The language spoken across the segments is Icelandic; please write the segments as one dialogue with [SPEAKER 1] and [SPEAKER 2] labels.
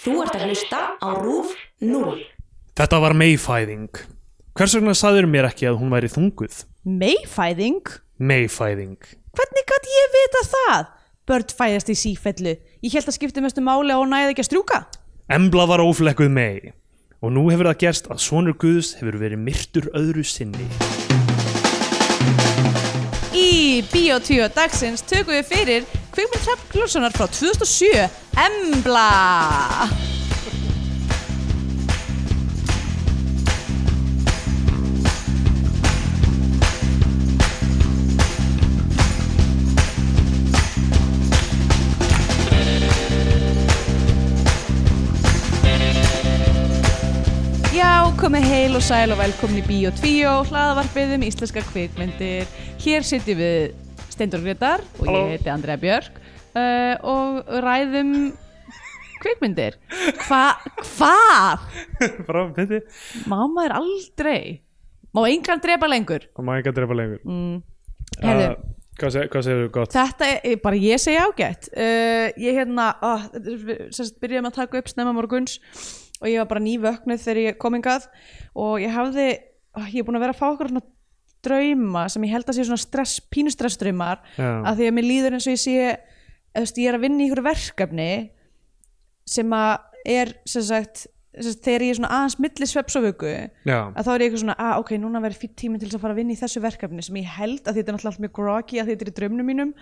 [SPEAKER 1] Þú ert að hlusta á RÚF 0.
[SPEAKER 2] Þetta var meifæðing. Hvers vegna saður mér ekki að hún væri þunguð?
[SPEAKER 3] Meifæðing?
[SPEAKER 2] Meifæðing.
[SPEAKER 3] Hvernig gæti ég vita það? Börn fæðast í sífellu. Ég held að skipti mestu máli að hún næði ekki að strjúka.
[SPEAKER 2] Embla var óflekkuð mei og nú hefur það gerst að sonur Guðs hefur verið myrtur öðru sinni.
[SPEAKER 3] Í Bíotvíu dagsins tökum við fyrir Kvikmynd Hrafn Glóssonar frá 2007, Embla! Já, komið heil og sæl og velkomin í Bíó 2, hlaðavarpið um íslenska kvikmyndir. Hér sitjum við Steindur Gretar og
[SPEAKER 2] Halló.
[SPEAKER 3] ég heiti Andrea Björk uh, og ræðum kvikmyndir. Hva? Hvað?
[SPEAKER 2] Bara, veitir,
[SPEAKER 3] Má maður aldrei? Má engan drepa lengur?
[SPEAKER 2] það má ekki að drepa lengur. Mm.
[SPEAKER 3] Herðu,
[SPEAKER 2] Uh, hvað, seg, hvað segir þú gott?
[SPEAKER 3] þetta er bara ég segja ágætt. Uh, ég hérna, uh, sérst byrjaði með að taka upp snemma morguns og ég var bara nývöknuð þegar ég kom hingað og ég hafði, uh, ég er búin að vera að fá okkur svona drauma sem ég held að sé svona stress, pínustress draumar
[SPEAKER 2] Já.
[SPEAKER 3] að því að mér líður eins og ég sé eða þú veist, ég er að vinna í ykkur verkefni sem að er sem sagt, sem sagt þegar ég er svona aðeins milli sveps og vöku
[SPEAKER 2] Já,
[SPEAKER 3] að þá er ég eitthvað svona, að ok, núna verður fýtt tími til þess að fara að vinna í þessu verkefni sem ég held að þetta er náttúrulega allt mjög groggy að þetta er í draumnum mínum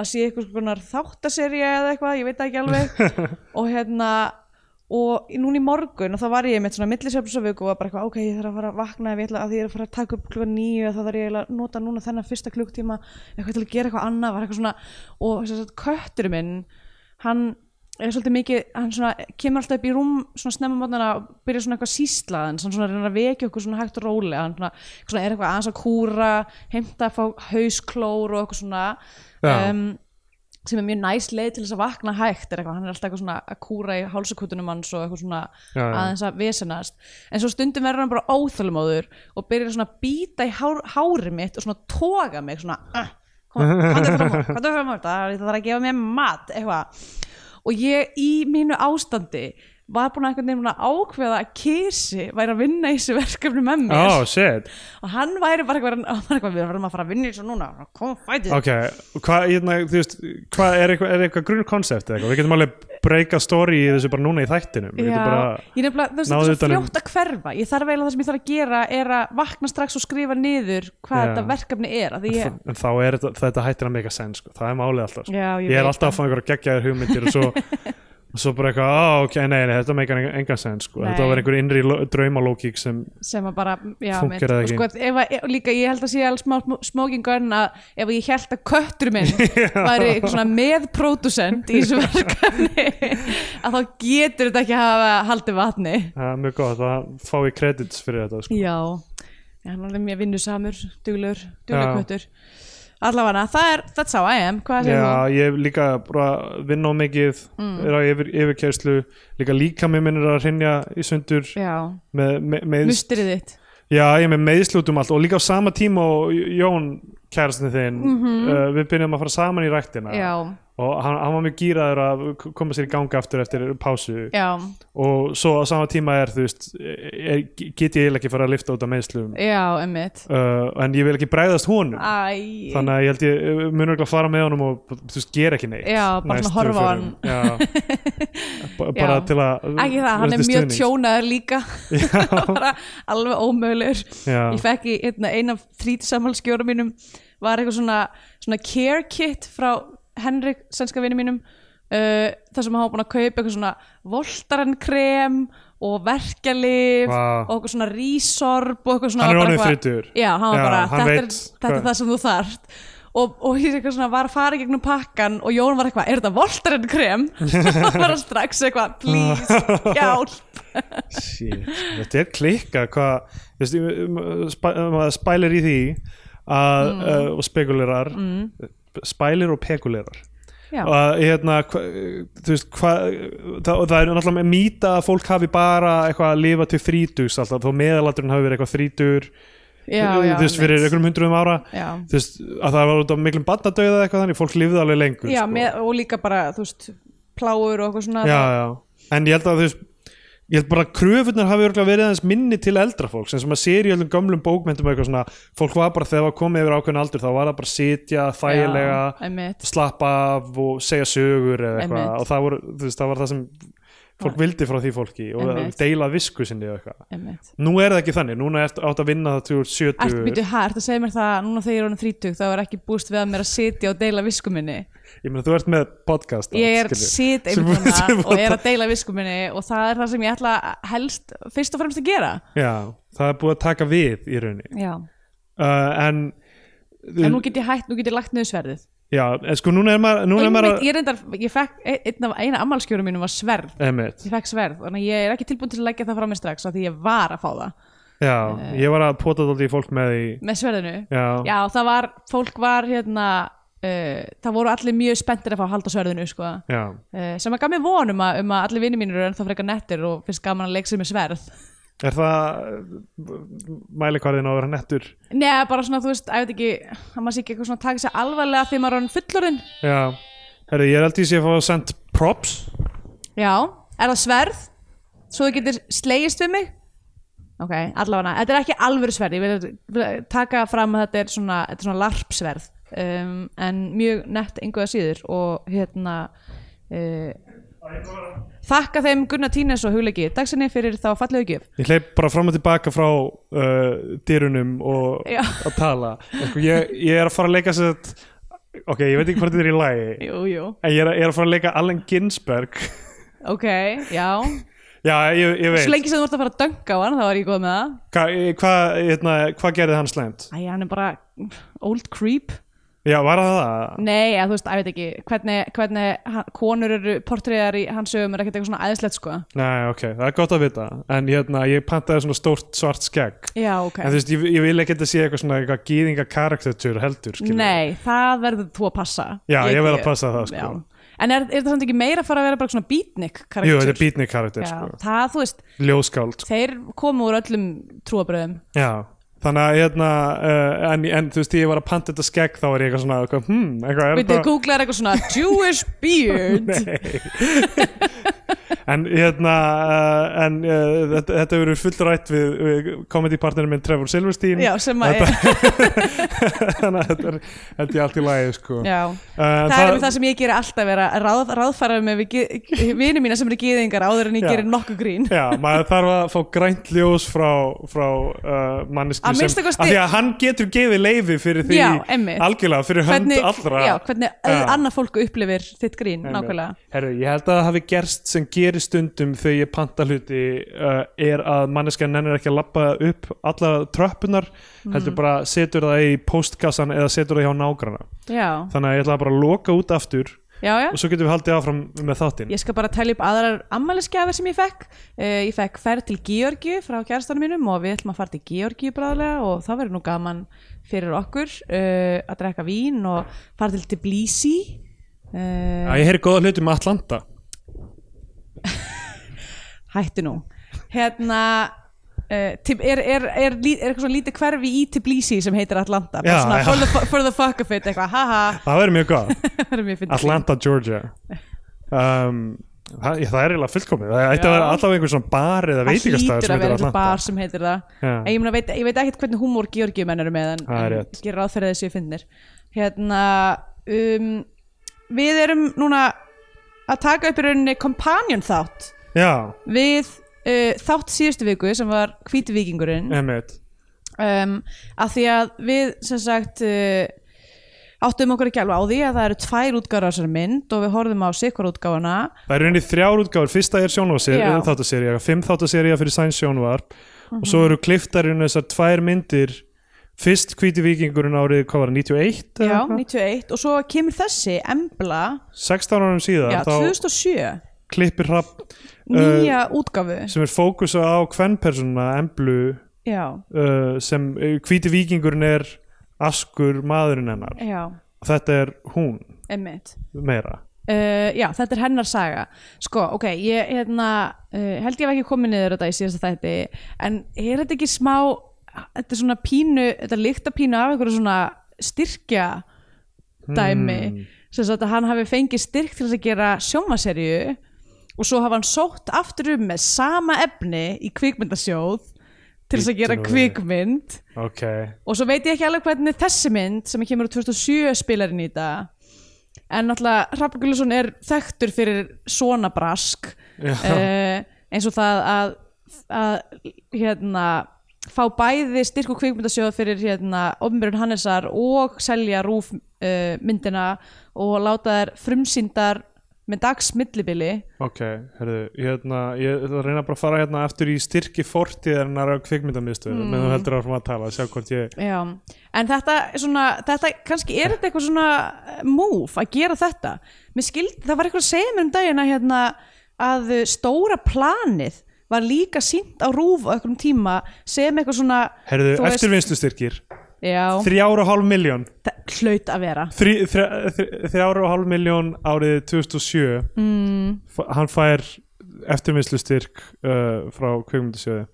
[SPEAKER 3] að sé eitthvað svona þáttaserja eða eitthvað, ég veit það ekki alveg og hérna og í- núna í morgun og þá var ég með svona millisöfnsöfug og var bara eitthvað, ok, ég þarf að fara að vakna ef ég ætla að því ég er að fara að taka upp klukkan nýju þá þarf ég eiginlega að nota núna þennan fyrsta klukktíma eitthvað til að gera eitthvað annað, var eitthvað svona og þess að köttur minn hann er svolítið mikið, hann svona kemur alltaf upp í rúm svona snemma mótnana og byrja svona eitthvað síslaðan, hann svona reynir að vekja okkur svona hægt og rólega, hann svona, svona er eitthvað aðeins að kúra, heimta að fá hausklór og eitthvað svona
[SPEAKER 2] Já.
[SPEAKER 3] sem er mjög næs leið til þess að vakna hægt er eitthvað, hann er alltaf eitthvað svona að kúra í hálsakutunum hans og eitthvað svona
[SPEAKER 2] Já, já.
[SPEAKER 3] aðeins að vesenast en svo stundum verður hann bara óþölumóður og byrjar svona að býta í hár, hári mitt og svona toga mig svona "Ah, kom, hvað er fram á, hvað er fram á þetta það þarf að gefa mér mat eitthvað og ég í mínu ástandi var búin að einhvern veginn að ákveða að Kirsi væri að vinna í þessu verkefni með
[SPEAKER 2] Ó,
[SPEAKER 3] mér
[SPEAKER 2] shit.
[SPEAKER 3] og hann væri bara eitthvað, hann var eitthvað við verðum að fara að vinna í þessu núna kom fætið
[SPEAKER 2] Ok, og hvað, hérna, þú veist, hvað er eitthvað, er eitthvað grunnkonsept eða eitthvað? Við getum alveg breyka story í þessu bara núna í þættinum. Við
[SPEAKER 3] Já,
[SPEAKER 2] getum bara,
[SPEAKER 3] ég nefnilega, þú veist,
[SPEAKER 2] náð
[SPEAKER 3] þetta er svo
[SPEAKER 2] utan um-
[SPEAKER 3] fljótt að hverfa ég þarf eiginlega það sem ég þarf að gera er að vakna strax og skrifa niður hvað
[SPEAKER 2] Já.
[SPEAKER 3] þetta verkefni er af því ég,
[SPEAKER 2] en þá er þetta, þetta hættir að meika sens, sko. Það er málið alltaf, sko.
[SPEAKER 3] já, ég,
[SPEAKER 2] ég, er
[SPEAKER 3] veit
[SPEAKER 2] alltaf að
[SPEAKER 3] það.
[SPEAKER 2] fá einhverja geggjaðir hugmyndir og svo, og svo bara eitthvað, á, ok, nei, nei, þetta meikar engan, engan sens, sko.
[SPEAKER 3] Nei.
[SPEAKER 2] Þetta var einhver innri lo- draumalógík sem,
[SPEAKER 3] sem að bara, já,
[SPEAKER 2] Funkar
[SPEAKER 3] mitt,
[SPEAKER 2] það
[SPEAKER 3] og
[SPEAKER 2] ekki?
[SPEAKER 3] sko, ef að, e- líka ég held að sé alveg smá smoking gun að ef ég held að köttur minn væri eitthvað svona meðpródusent í þessu verkefni að þá getur þetta ekki að hafa haldið vatni
[SPEAKER 2] það er mjög gott, það fá ég credits fyrir þetta, sko.
[SPEAKER 3] Já, Já, hann er alveg mjög vinnusamur, duglur,
[SPEAKER 2] Já.
[SPEAKER 3] duglurkvötur. Allavega, það er, that's how I am, hvað segir þú?
[SPEAKER 2] Já, ég hef líka bara vinna á mikið,
[SPEAKER 3] Mm.
[SPEAKER 2] er á yfir, yfirkerslu, líka líka mér minnir að hrinja í sundur
[SPEAKER 3] Já,
[SPEAKER 2] með, með, með
[SPEAKER 3] mustrið þitt.
[SPEAKER 2] Já, ég er með meiðslutum allt og líka á sama tíma og Jón kærastin þinn, uh, við byrjum að fara saman í ræktina
[SPEAKER 3] Mhm. Já,
[SPEAKER 2] og hann, hann var mjög gýraður að k- koma sér í ganga aftur eftir pásu
[SPEAKER 3] já,
[SPEAKER 2] og svo á sama tíma er, þú veist, e-, er, get ég eiginlega ekki fara að lifta út af meiðslum
[SPEAKER 3] já, emmitt.
[SPEAKER 2] uh, en ég vil ekki bregðast honum
[SPEAKER 3] Æ,
[SPEAKER 2] þannig að ég held ég munur ekki að fara með honum og þú veist, gera ekki neitt
[SPEAKER 3] Já, bara
[SPEAKER 2] næstu
[SPEAKER 3] svona horfa á
[SPEAKER 2] förum. Já. Ba- bara
[SPEAKER 3] Já.
[SPEAKER 2] til að
[SPEAKER 3] ekki það, hann er
[SPEAKER 2] til
[SPEAKER 3] mjög
[SPEAKER 2] stuðnings.
[SPEAKER 3] tjónaður líka, bara alveg ómögulegur.
[SPEAKER 2] Já.
[SPEAKER 3] Ég fekk í einna, eina þrítisamhalskjóra mínum, var eitthvað svona, svona care kit frá Henrik, sænska vinnu mínum, uh, þar sem hann var búin að kaupa eitthvað svona voltarankrem og verkjalif
[SPEAKER 2] Vá.
[SPEAKER 3] og eitthvað svona rísorb og eitthvað svona
[SPEAKER 2] Hann er
[SPEAKER 3] bara
[SPEAKER 2] orðinn
[SPEAKER 3] eitthvað-
[SPEAKER 2] 30.
[SPEAKER 3] Já, hann var
[SPEAKER 2] Já,
[SPEAKER 3] bara,
[SPEAKER 2] hann
[SPEAKER 3] þetta,
[SPEAKER 2] veit
[SPEAKER 3] er, þetta er
[SPEAKER 2] hvað-
[SPEAKER 3] það sem þú þarft og, og ég eitthvað svona var að fara í gegnum pakkan og Jón var eitthvað, er þetta voltarinn krem? og bara strax eitthvað, please, hjálp
[SPEAKER 2] Shit, þetta er klikka hvað, þú veist, ég- um, spæ- um, maður spælir í því að,
[SPEAKER 3] Mm.
[SPEAKER 2] uh, og spekulerar spælir og pekulerar
[SPEAKER 3] Já.
[SPEAKER 2] og hérna hva, þú veist hvað það, og það er náttúrulega með mýta að fólk hafi bara eitthvað að lifa til þrítugs alltaf þó meðalandurinn hafi verið eitthvað þrítur
[SPEAKER 3] já, já,
[SPEAKER 2] þú veist fyrir einhverjum hundruðum ára
[SPEAKER 3] já.
[SPEAKER 2] þú veist að það var út af miklum bandadauða eitthvað þannig fólk lifði alveg lengur
[SPEAKER 3] já
[SPEAKER 2] sko.
[SPEAKER 3] með, og líka bara, þú veist pláur og eitthvað svona
[SPEAKER 2] já, já en ég held að þú veist ég held bara að kröfunar hafi örugglega verið aðeins minni til eldra fólks eins og maður sér í öllum gömlum bókmyndum og eitthvað svona, fólk var bara þegar það var komið yfir ákveðin aldur þá var það bara að sitja þægilega,
[SPEAKER 3] Já, einmitt.
[SPEAKER 2] slappa af og segja sögur eða
[SPEAKER 3] Einmitt.
[SPEAKER 2] eitthvað og það, voru, þú veist, það var það sem fólk vildi frá því fólki og
[SPEAKER 3] Einmitt.
[SPEAKER 2] deila visku sinni eða eitthvað
[SPEAKER 3] einmitt
[SPEAKER 2] nú er það ekki þannig, núna ert átt að vinna það til þú ert
[SPEAKER 3] Ert,
[SPEAKER 2] 70
[SPEAKER 3] býtu, hæ, ert að segja mér það núna þegar ég er honum þrítug þá er ekki búist við að mér að sitja og deila viskuminni
[SPEAKER 2] ég meina þú ert með podcast þátt,
[SPEAKER 3] ég er
[SPEAKER 2] skilju.
[SPEAKER 3] sit
[SPEAKER 2] Sem-
[SPEAKER 3] einmitt
[SPEAKER 2] sem-
[SPEAKER 3] hana og er að deila viskuminni og það er það sem ég ætla helst fyrst og fremst að gera
[SPEAKER 2] já, það er búið að taka við í rauninni
[SPEAKER 3] Já.
[SPEAKER 2] uh, en,
[SPEAKER 3] en nú get ég hætt, nú get ég lagt niður sverðið
[SPEAKER 2] já, en sko núna er maður
[SPEAKER 3] og
[SPEAKER 2] núna er
[SPEAKER 3] ég,
[SPEAKER 2] maður
[SPEAKER 3] veit, ég reyndar, ég fekk eina, eina ammálskjörum mínum var sverð
[SPEAKER 2] Einmitt,
[SPEAKER 3] ég fekk sverð, þannig að ég er ekki tilbúin til að leggja það frá mér strax af því ég var að fá það
[SPEAKER 2] já,
[SPEAKER 3] Eh.
[SPEAKER 2] ég var að pota þátt í fólk með því
[SPEAKER 3] með sverðinu
[SPEAKER 2] Já.
[SPEAKER 3] það var, fólk var hérna uh, það voru allir mjög spenntir að fá að halda sverðinu sko.
[SPEAKER 2] Já,
[SPEAKER 3] uh, sem að gaf mér von um að, um að allir vinnir mínir eru ennþá frekar nettir og finnst gaman að leika sér með sverð
[SPEAKER 2] er það mælikvarðin á að vera nettur
[SPEAKER 3] Nei, bara svona, þú veist, að ég veit ekki að maður sé ekki eitthvað svona að taka sér alvarlega þegar maður er orðinn fullorðinn
[SPEAKER 2] Já, herri, ég er aldrei sé að fá sent props
[SPEAKER 3] Já, er það sverð? Svo þú getur slegist við mig? Ok, allavega, þetta er ekki alvöru sverð, ég vil- vil taka fram að þetta er svona, þetta er svona larpsverð um, en mjög nett einhverja síður og hérna uh, þakka þeim Gunnar Tínes og hugleiki dagsinni fyrir þá fallegu gjöf
[SPEAKER 2] Ég hleyp bara fram og tilbaka frá uh, dyrunum og
[SPEAKER 3] Já.
[SPEAKER 2] að tala En sko, ég, ég er að fara að leika sér Ok, ég veit ekki hvort þetta er í lagi
[SPEAKER 3] Jú, jú
[SPEAKER 2] En ég er, að- ég er að fara að leika Allen Ginsberg
[SPEAKER 3] Ok, já
[SPEAKER 2] Já, ég, ég
[SPEAKER 3] Svo
[SPEAKER 2] veit
[SPEAKER 3] lengi sem þú ert að fara að dönga á hann, þá var ég góð með það
[SPEAKER 2] Hva- eh, Hvað hérna, hva gerði hann slæmt?
[SPEAKER 3] Æ, hann er bara old creep
[SPEAKER 2] Já, var það það?
[SPEAKER 3] Nei, að, þú veist, ég veit ekki hvernig, hvernig hann, konur eru portréðar í hans sögum er ekkert eitthvað svona æðislegt sko
[SPEAKER 2] Nei, ok, það er gott að vita En hérna, ég pantaði svona stórt svart skegg
[SPEAKER 3] Já, ok
[SPEAKER 2] En þú veist, ég, ég vil ekki þetta sé eitthvað svona eitthvað gýðinga karaktertur heldur, skilur
[SPEAKER 3] Nei, það verður þú að passa
[SPEAKER 2] Já, ég verð að passa það, sko.
[SPEAKER 3] Já. En er, er það samt ekki meira að fara að vera bara svona beatnik karakter?
[SPEAKER 2] Jú, þetta er beatnik karakter,
[SPEAKER 3] Já,
[SPEAKER 2] sko
[SPEAKER 3] það, þú veist,
[SPEAKER 2] Ljóskáld, sko
[SPEAKER 3] þeir komu úr öllum trúabröðum
[SPEAKER 2] Já, þannig að hérna uh, en, en þú veist, þegar ég var að panta þetta skegg þá var ég eitthvað svona, eitthvað, hmm, eitthvað er
[SPEAKER 3] Við þau googlar eitthvað svona Jewish beard
[SPEAKER 2] En hérna uh, en uh, þetta, þetta hefur verið fullrætt við, við komedipartnerin minn Trevor Silverstein
[SPEAKER 3] Já, sem að er,
[SPEAKER 2] þannig að þetta er, þetta er allt í lagi, sko
[SPEAKER 3] já,
[SPEAKER 2] Uh,
[SPEAKER 3] það, er einmitt það sem ég gerir alltaf vera að ráð, ráðfæra með vinið mína sem eru gýðingar áður en ég
[SPEAKER 2] Já.
[SPEAKER 3] gerir nokkuð grín
[SPEAKER 2] Já, maður þarf að fá grænt ljós frá, frá uh, mannesku
[SPEAKER 3] Að minnsta kosti-
[SPEAKER 2] af því að hann getur gefið leifi fyrir því
[SPEAKER 3] Já, einmitt.
[SPEAKER 2] algjörlega, fyrir hönd allra
[SPEAKER 3] já, hvernig eh,
[SPEAKER 2] Já.
[SPEAKER 3] annað fólk upplifir þitt grín
[SPEAKER 2] Einmitt.
[SPEAKER 3] nákvæmlega
[SPEAKER 2] Herru, ég held að það hafi gerst sem gerir stundum þegar ég panta hluti uh, er að manneska nennir ekki að lappa upp alla tröppunar
[SPEAKER 3] Mhm.
[SPEAKER 2] heldur bara setur það í postkassan eða setur það hjá nágrana
[SPEAKER 3] já,
[SPEAKER 2] þannig að ég ætla að bara loka út aftur
[SPEAKER 3] já, já,
[SPEAKER 2] og svo getum við haldið áfram með þáttinn
[SPEAKER 3] ég skal bara telja upp aðrar ammælisgjafir sem ég fekk uh, ég fekk ferð til Georgi frá kjærastanum mínum og við ætlum að fara til Georgi bráðlega og það verður nú gaman fyrir okkur uh, að drekka vín og fara til Tbilisi uh,
[SPEAKER 2] Já, ég heyri góða hluti með Atlanta
[SPEAKER 3] hættu nú hérna Uh, tib, er, er, er, lí- er eitthvað svona lítið hverfi í Tbilisi sem heitir Atlanta bara
[SPEAKER 2] Já,
[SPEAKER 3] svona,
[SPEAKER 2] já.
[SPEAKER 3] For, the, fu- for the fuck of it eitthvað, haha
[SPEAKER 2] Það verður mjög gott
[SPEAKER 3] það er mjög fyndið.
[SPEAKER 2] Atlanta, Georgia um, það, ég- það er eiginlega fullkomið það ætti að vera allavega einhver svona bar eða
[SPEAKER 3] Það
[SPEAKER 2] veitingastæð
[SPEAKER 3] hlýtur
[SPEAKER 2] sem
[SPEAKER 3] að
[SPEAKER 2] heitir
[SPEAKER 3] vera eitthvað
[SPEAKER 2] Atlanta
[SPEAKER 3] bar sem heitir það
[SPEAKER 2] Já.
[SPEAKER 3] en ég, mena, veit, ég veit ekkert hvernig húmór Georgiumenn eru með en,
[SPEAKER 2] Það er
[SPEAKER 3] en
[SPEAKER 2] rétt.
[SPEAKER 3] gerir ráð fyrir þessi ég finnir hérna um, við erum núna að taka upp í rauninni companion þátt
[SPEAKER 2] Já,
[SPEAKER 3] við uh, þátt síðustu viku sem var hvíti vikingurinn
[SPEAKER 2] einmitt
[SPEAKER 3] um, að því að við sem sagt uh, áttum okkur ekki alveg á því að það eru tvær útgára þessar mynd og við horfðum á sikkur útgáfana
[SPEAKER 2] Það eru henni þrjár útgáfur, fyrsta er
[SPEAKER 3] Já.
[SPEAKER 2] sjónvarserja fimm þáttaserja fyrir sæns sjónvarp og
[SPEAKER 3] Mhm.
[SPEAKER 2] svo eru kliftarinn þessar tvær myndir fyrst hvíti vikingurinn árið, hvað var það, 91 eða
[SPEAKER 3] já,
[SPEAKER 2] eitthvað?
[SPEAKER 3] 91 og svo kemur þessi Embla,
[SPEAKER 2] 16 árum síðar,
[SPEAKER 3] já,
[SPEAKER 2] þá
[SPEAKER 3] 2007
[SPEAKER 2] klippir hrapp
[SPEAKER 3] nýja útgafu
[SPEAKER 2] sem er fókusa á kvennpersona emblu
[SPEAKER 3] já,
[SPEAKER 2] uh, sem uh, hvíti vikingurinn er askur maðurinn hennar
[SPEAKER 3] já,
[SPEAKER 2] og þetta er hún
[SPEAKER 3] emmitt
[SPEAKER 2] meira
[SPEAKER 3] Uh, já, þetta er hennar saga sko, ok, ég hérna, uh, held ég hef ekki komið niður þetta í síðasta þætti en er þetta ekki smá þetta er svona pínu, þetta líkta pínu af einhverju svona styrkja
[SPEAKER 2] Hmm.
[SPEAKER 3] dæmi, sem sagt að hann hafi fengið styrk til þess að gera sjómaserju og svo hafa hann sótt aftur um með sama efni í kvikmyndasjóð til þess að gera
[SPEAKER 2] Bíddu nú við.
[SPEAKER 3] kvikmynd
[SPEAKER 2] ok,
[SPEAKER 3] og svo veit ég ekki alveg hvernig þessi mynd sem kemur á 2007 spilarinn í þetta en náttúrulega Hrafn Gullusson er þekktur fyrir svona brask
[SPEAKER 2] Já.
[SPEAKER 3] uh, eins og það að, að hérna fá bæði styrku kvikmyndasjóð fyrir hérna ofnbjörn Hannesar og selja rúf uh, myndina og láta þær frumsýndar með dags millibili
[SPEAKER 2] ok herðu, hérna, ég ætla að reyna bara að fara hérna aftur í styrki fortíðarinnar á kvikmyndamiðstöðu, mm. menn þú heldur áfram að tala sjá hvort ég,
[SPEAKER 3] Já, en þetta, er svona, þetta kannski er þetta eitthvað svona eh, move að gera þetta. Mér skildi, það var eitthvað að segja mér um dagina hérna að eh, stóra planið var líka sínt á rúf á einhverjum tíma sem eitthvað svona,
[SPEAKER 2] herðu,
[SPEAKER 3] Þú veist-
[SPEAKER 2] eftirvinnslustyrkir
[SPEAKER 3] já,
[SPEAKER 2] þrjára og hálf miljón
[SPEAKER 3] það hlaut að vera.
[SPEAKER 2] Þrj- þrjá- þrjá- þrjár og hálf miljón árið 2007 mm. hann fær eftirminnslustyrk uh, frá kvikmyndasjóði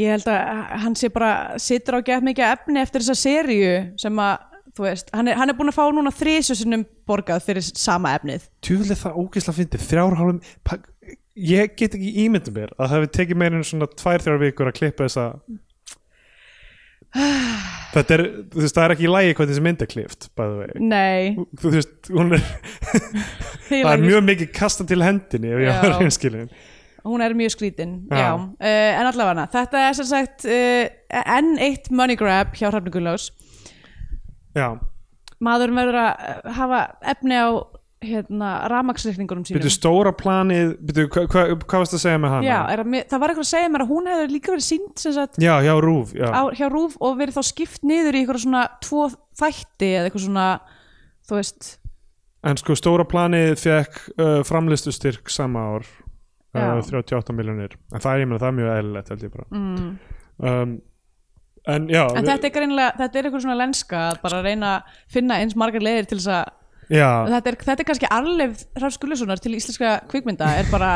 [SPEAKER 3] Ég held að hann sé bara, situr á gett mikið efni eftir þessa seríu sem að, þú veist, hann er, hann er búin að fá núna þrísusunum borgað fyrir sama efnið.
[SPEAKER 2] tjúfell er það ógeðslega fyndið þrjár og hálf pa- ég get ekki ímyndum mér að það hefði tekið meira en svona tvær þrjár vikur að klippa þessa þetta er þú veist það er ekki í lægi hvað þessi mynd er klift by the way
[SPEAKER 3] Nei,
[SPEAKER 2] þú veist hún er það er mjög mikið kasta til hendinni ef ég
[SPEAKER 3] Já.
[SPEAKER 2] var einskilin
[SPEAKER 3] hún er mjög skrítin
[SPEAKER 2] Já.
[SPEAKER 3] já. Uh, en allavega þetta er sem sagt uh, enn eitt money grab hjá Hrafni Gullós
[SPEAKER 2] já
[SPEAKER 3] maðurinn verður að uh, hafa efni á hérna, ramaksreikningunum sínum
[SPEAKER 2] byrju stóra planið byrju hva- hva- hvað varst að segja með hana
[SPEAKER 3] já, er, að mér- það var eitthvað að segja mér að hún hefur líka verið sínd sem sagt
[SPEAKER 2] Já, já, rúf, já.
[SPEAKER 3] á, hjá Rúf og verið þá skipt niður í eitthvað svona tvo þætti eða eitthvað svona þú veist,
[SPEAKER 2] En sko, stóra planið fekk uh, framlistustyrk sama ár, uh,
[SPEAKER 3] Já.
[SPEAKER 2] 38 miljonir. En það er, ég meina, það er mjög eðlilegt, held ég bara. Mm. Um, en já,
[SPEAKER 3] en þetta er greinlega þetta er eitthvað svona lenska að bara reyna að finna eins margar leiðir til þess að
[SPEAKER 2] já,
[SPEAKER 3] Og þetta er, þetta er kannski arleif Hrafs Gullussonar til íslenska kvikmynda er bara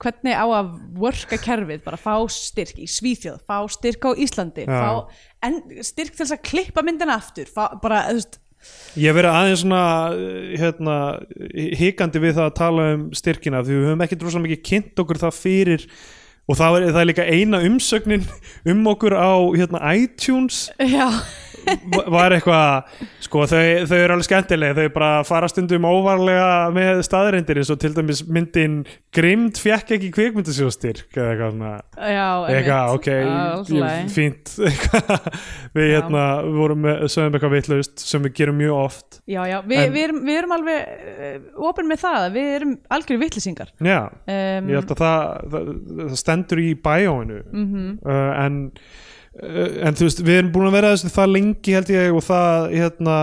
[SPEAKER 3] hvernig á að worka kerfið, bara fá styrk í Svíþjóð fá styrk á Íslandi
[SPEAKER 2] Já.
[SPEAKER 3] fá en, styrk til þess að klippa myndina aftur fá, bara, þú veist,
[SPEAKER 2] ég hef verið aðeins svona, uh, hérna, hikandi við það að tala um styrkina, því við höfum ekkert rosalega mikið kynnt okkur það fyrir og það er, það er líka eina umsögnin um okkur á, hérna, iTunes
[SPEAKER 3] já,
[SPEAKER 2] va- var eitthvað sko þau, þau eru alveg skemmtilega þau bara fara stundum óvarlega með staðarindir eins og til dæmis myndin Grimd fekk ekki kvikmyndasjóðstyrk eða eitthvað svona
[SPEAKER 3] já
[SPEAKER 2] eitthvað ok, ég-
[SPEAKER 3] ég,
[SPEAKER 2] fínt eitthvað. við
[SPEAKER 3] Já.
[SPEAKER 2] hérna við vorum með, sögum eitthvað vitlaust sem við gerum mjög oft
[SPEAKER 3] já, já, við
[SPEAKER 2] En-
[SPEAKER 3] vi erum, vi erum alveg uh, opin með það, við erum algjörðu vittlisingar
[SPEAKER 2] já,
[SPEAKER 3] um,
[SPEAKER 2] ég held að það, það, það stendur í bæjóinu
[SPEAKER 3] Mhm.
[SPEAKER 2] uh, en uh, en þú veist, við erum búin að vera þessu það lengi held ég og það hérna,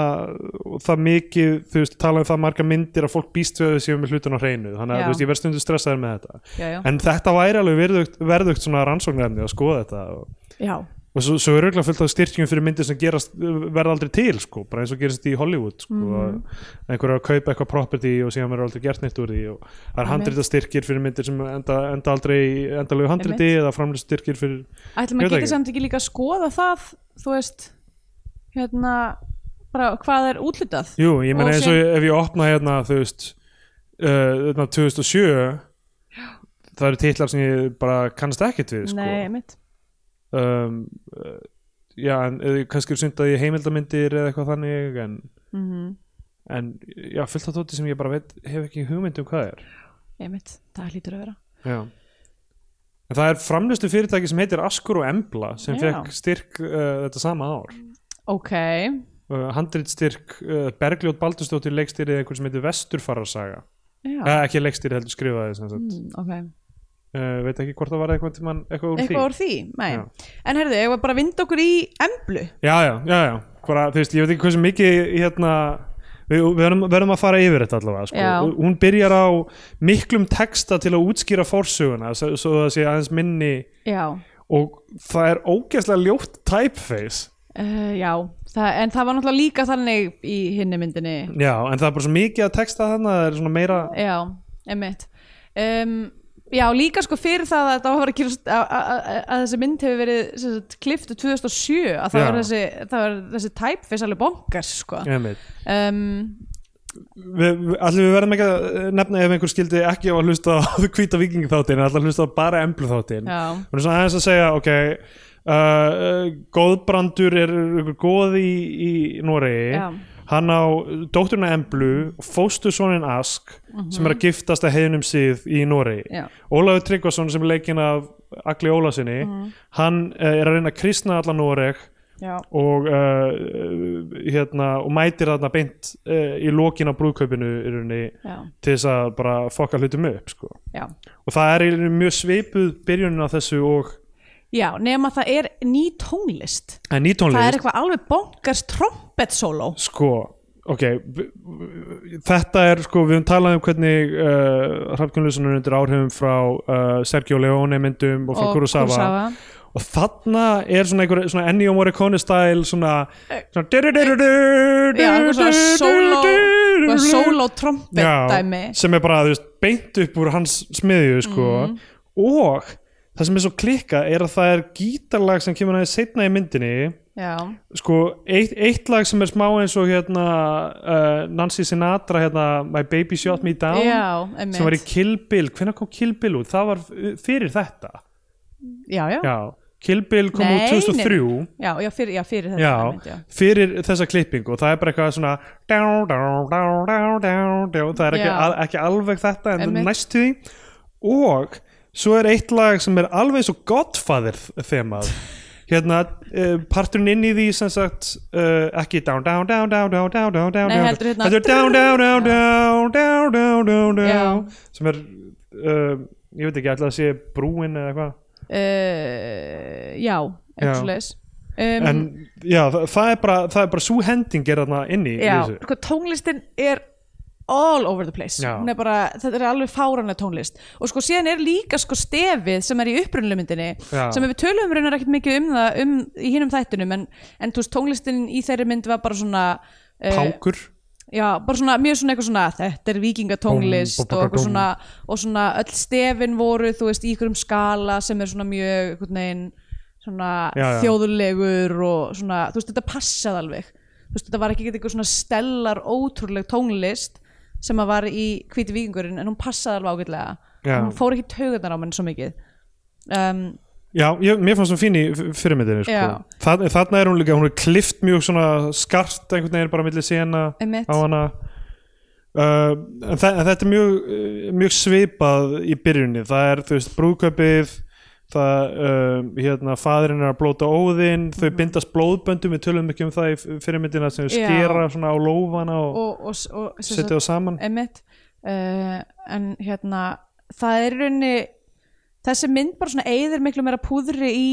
[SPEAKER 2] og það mikið, þú veist, tala um það marga myndir að fólk býst við þessu með hlutun á hreinu þannig að
[SPEAKER 3] Já.
[SPEAKER 2] þú veist, ég verð stundu stressaður með þetta
[SPEAKER 3] já, já,
[SPEAKER 2] en þetta væri alveg verðugt, verðugt svona rannsóknarefni að skoða þetta og,
[SPEAKER 3] já,
[SPEAKER 2] og svo, svo er auðvitað fullt af styrkjum fyrir myndir sem gerast, verða aldrei til sko, bara eins og gerist í Hollywood sko,
[SPEAKER 3] Mhm.
[SPEAKER 2] mm. einhverju að kaupa eitthvað property og síðan verður aldrei gert neitt úr því og það er
[SPEAKER 3] Einmitt.
[SPEAKER 2] handrita fyrir myndir sem enda, enda aldrei endalegu handriti eða framlega fyrir Ég
[SPEAKER 3] ætlum
[SPEAKER 2] veit
[SPEAKER 3] að geta
[SPEAKER 2] ekki.
[SPEAKER 3] samt ekki líka að skoða það, þú veist hérna, bara hvað er útlutað
[SPEAKER 2] Jú, ég meina
[SPEAKER 3] Og
[SPEAKER 2] eins og ef ég opna hérna þú veist uh, hérna 2007 það eru titlar sem ég bara kannast ekkert við sko.
[SPEAKER 3] Nei, mitt
[SPEAKER 2] um, uh, já, en uh, kannski er sund að ég heimildamindir eða eitthvað þannig en,
[SPEAKER 3] mm
[SPEAKER 2] en já, fullt af tóti sem ég bara veit hef ekki hugmynd um hvað er
[SPEAKER 3] Einmitt, það hlýtur að vera
[SPEAKER 2] já. en það er framlustu fyrirtæki sem heitir Askur og Embla sem
[SPEAKER 3] Já.
[SPEAKER 2] fekk styrk uh, þetta sama ár
[SPEAKER 3] Ok,
[SPEAKER 2] uh, handritstyrk uh, Bergljót Baldursdóttir leikstýri einhver sem heitir Vesturfararsaga
[SPEAKER 3] já
[SPEAKER 2] eh, ekki leikstýri heldur skrifaði sem sagt
[SPEAKER 3] mm, okay.
[SPEAKER 2] uh, veit ekki hvort það var eitthvað tímann eitthvað úr
[SPEAKER 3] Eitthvað
[SPEAKER 2] því
[SPEAKER 3] úr því, nei
[SPEAKER 2] Já.
[SPEAKER 3] En heyrðu, ég var bara að vinda okkur í emblu
[SPEAKER 2] já, já, já, já. Hvora, þú veist, ég veit ekki hversu mikið hérna, við, við verðum, verðum að fara yfir þetta allavega sko.
[SPEAKER 3] Já.
[SPEAKER 2] hún byrjar á miklum texta til að útskýra forsöguna svo, svo það sé aðeins minni
[SPEAKER 3] Já,
[SPEAKER 2] og það er ógeðslega ljótt typeface
[SPEAKER 3] uh, já það, En það var náttúrulega líka þannig í hinni myndinni
[SPEAKER 2] já, en það er bara svo mikið að texta þannig að það er svona meira
[SPEAKER 3] Já, einmitt um, Já, líka sko fyrir það að það var að gerast að, að, að- að þessi mynd hefur verið sem sagt, kliftu 2007 að það
[SPEAKER 2] Já.
[SPEAKER 3] var þessi, það var þessi typeface alveg bonkars sko
[SPEAKER 2] Einmitt.
[SPEAKER 3] um,
[SPEAKER 2] við, við, allir við verðum ekki að eh, nefna ef einhver skildi ekki á að hlusta á hvíta vikingi þáttin, allir að hlusta á bara emblu þáttin
[SPEAKER 3] já,
[SPEAKER 2] Við erum svona aðeins að segja, ok uh, góðbrandur er ykkur góð í, í Noregi
[SPEAKER 3] Já.
[SPEAKER 2] hann á dótturna Emblu og fóstursónin Ask sem
[SPEAKER 3] Mhm.
[SPEAKER 2] er að giftast að heiðnum síð í Noregi
[SPEAKER 3] Já.
[SPEAKER 2] Ólafur Tryggvason sem er leikinn af Agli Ólasinni hann uh, er að reyna að kristna alla Noreg
[SPEAKER 3] já,
[SPEAKER 2] og uh, hérna og mætir þarna beint uh, í lokin á brúðkaupinu í rauninni
[SPEAKER 3] já,
[SPEAKER 2] til þess að bara fokka hlutum upp sko.
[SPEAKER 3] já
[SPEAKER 2] og það er í rauninni mjög svipuð byrjunin á þessu og
[SPEAKER 3] já, nema það er ný tónlist
[SPEAKER 2] En ný tónlist,
[SPEAKER 3] það er eitthvað alveg bonkars trompet solo
[SPEAKER 2] sko, ok, b- þetta er, sko, við höfum talað um hvernig uh, Hrafkjörnlösunar undir áhrifum frá uh, Sergio Leone myndum og frá Kurosawa. og þarna er svona einhver svona Ennio Morricone style svona, svona
[SPEAKER 3] já, eitthvað svona solo eitthvað solo trompet
[SPEAKER 2] Já,
[SPEAKER 3] dæmi
[SPEAKER 2] sem er bara þú veist, beint upp úr hans smiðju sko. og það sem er svo klikka er að það er gítarlag sem kemur aðeins seinna í myndinni
[SPEAKER 3] já,
[SPEAKER 2] sko, eitt, eitt lag sem er smá eins og hérna uh, Nancy Sinatra hérna My Baby Shot Me Down
[SPEAKER 3] já,
[SPEAKER 2] sem var í
[SPEAKER 3] emmitt
[SPEAKER 2] Kill Bill, hvenær kom Kill Bill út? Það var f- fyrir þetta
[SPEAKER 3] já, já,
[SPEAKER 2] já, Kill Bill kom
[SPEAKER 3] Nei,
[SPEAKER 2] út 2003
[SPEAKER 3] já, já, fyrir, já, fyrir þetta
[SPEAKER 2] Já,
[SPEAKER 3] dæmi, já.
[SPEAKER 2] fyrir þessa klippingu og það er bara eitthvað svona down, down, down, down, down, down. það er ekki,
[SPEAKER 3] Já.
[SPEAKER 2] al, ekki alveg þetta en
[SPEAKER 3] Einmitt.
[SPEAKER 2] næst því og svo er eitt lag sem er alveg svo Godfather þemað hérna uh, parturinn inn í því sem sagt uh, ekki down, down, down, down, down, down, down, down
[SPEAKER 3] Nei,
[SPEAKER 2] down.
[SPEAKER 3] heldur hérna-
[SPEAKER 2] heldur down, down, down, down, down, down, down, down
[SPEAKER 3] Já.
[SPEAKER 2] sem er uh, ég veit ekki, ætla að sé brúin eða eitthvað
[SPEAKER 3] uh, já,
[SPEAKER 2] Já.
[SPEAKER 3] eitthvað leis um,
[SPEAKER 2] en já, það, það er bara, það er bara svo hending er þarna inni í
[SPEAKER 3] já,
[SPEAKER 2] þessu.
[SPEAKER 3] sko, tónlistin er all over the place
[SPEAKER 2] Já.
[SPEAKER 3] Hún er bara, þetta er alveg fárana tónlist og sko síðan er líka sko stefið sem er í upprunnuleg myndinni
[SPEAKER 2] Já.
[SPEAKER 3] sem við tölum raunar ekkert mikið um það um, í hinum þættunum en, en þú veist tónlistin í þeirri mynd var bara svona eh,
[SPEAKER 2] Pákur
[SPEAKER 3] já, bara svona mjög svona eitthvað svona þetta er
[SPEAKER 2] Búm, bú,
[SPEAKER 3] vikingatónlist
[SPEAKER 2] bú,
[SPEAKER 3] og, eitthvað
[SPEAKER 2] bú,
[SPEAKER 3] svona, og svona öll stefin voru þú veist í ykkurum skala sem er svona mjög einhvern veginn svona
[SPEAKER 2] Já, já.
[SPEAKER 3] þjóðulegur og svona, þú veist þetta passaði alveg þú veist þetta var ekki eitthvað svona stellar ótrúleg tónlist sem að var í hvíti vikingurinn en hún passaði alveg ágætlega
[SPEAKER 2] Já.
[SPEAKER 3] hún fór ekki taugarnar á mann svo mikið um,
[SPEAKER 2] Já, ég, mér fannst hún fín í fyrirmyndinni
[SPEAKER 3] Já.
[SPEAKER 2] sko. Þa, Þarna er hún líka, hún er klift mjög svona skarft einhvern veginn bara milli sena
[SPEAKER 3] Einmitt.
[SPEAKER 2] á hana uh, en, þa en þetta er mjög, uh, mjög svipað í byrjunni það er, þú veist, brúðkaupið það, uh, hérna, faðirinn er að blóta óðinn, þau bindast blóðböndum við tölum ekki um það í f- fyrirmyndina sem þau
[SPEAKER 3] Mhm. Já.
[SPEAKER 2] skera svona á lófana og,
[SPEAKER 3] og, og, og sem sagt-
[SPEAKER 2] setja það saman
[SPEAKER 3] einmitt uh, en hérna það er í rauninni þessi mynd bara svona eyðir miklu meira púðri í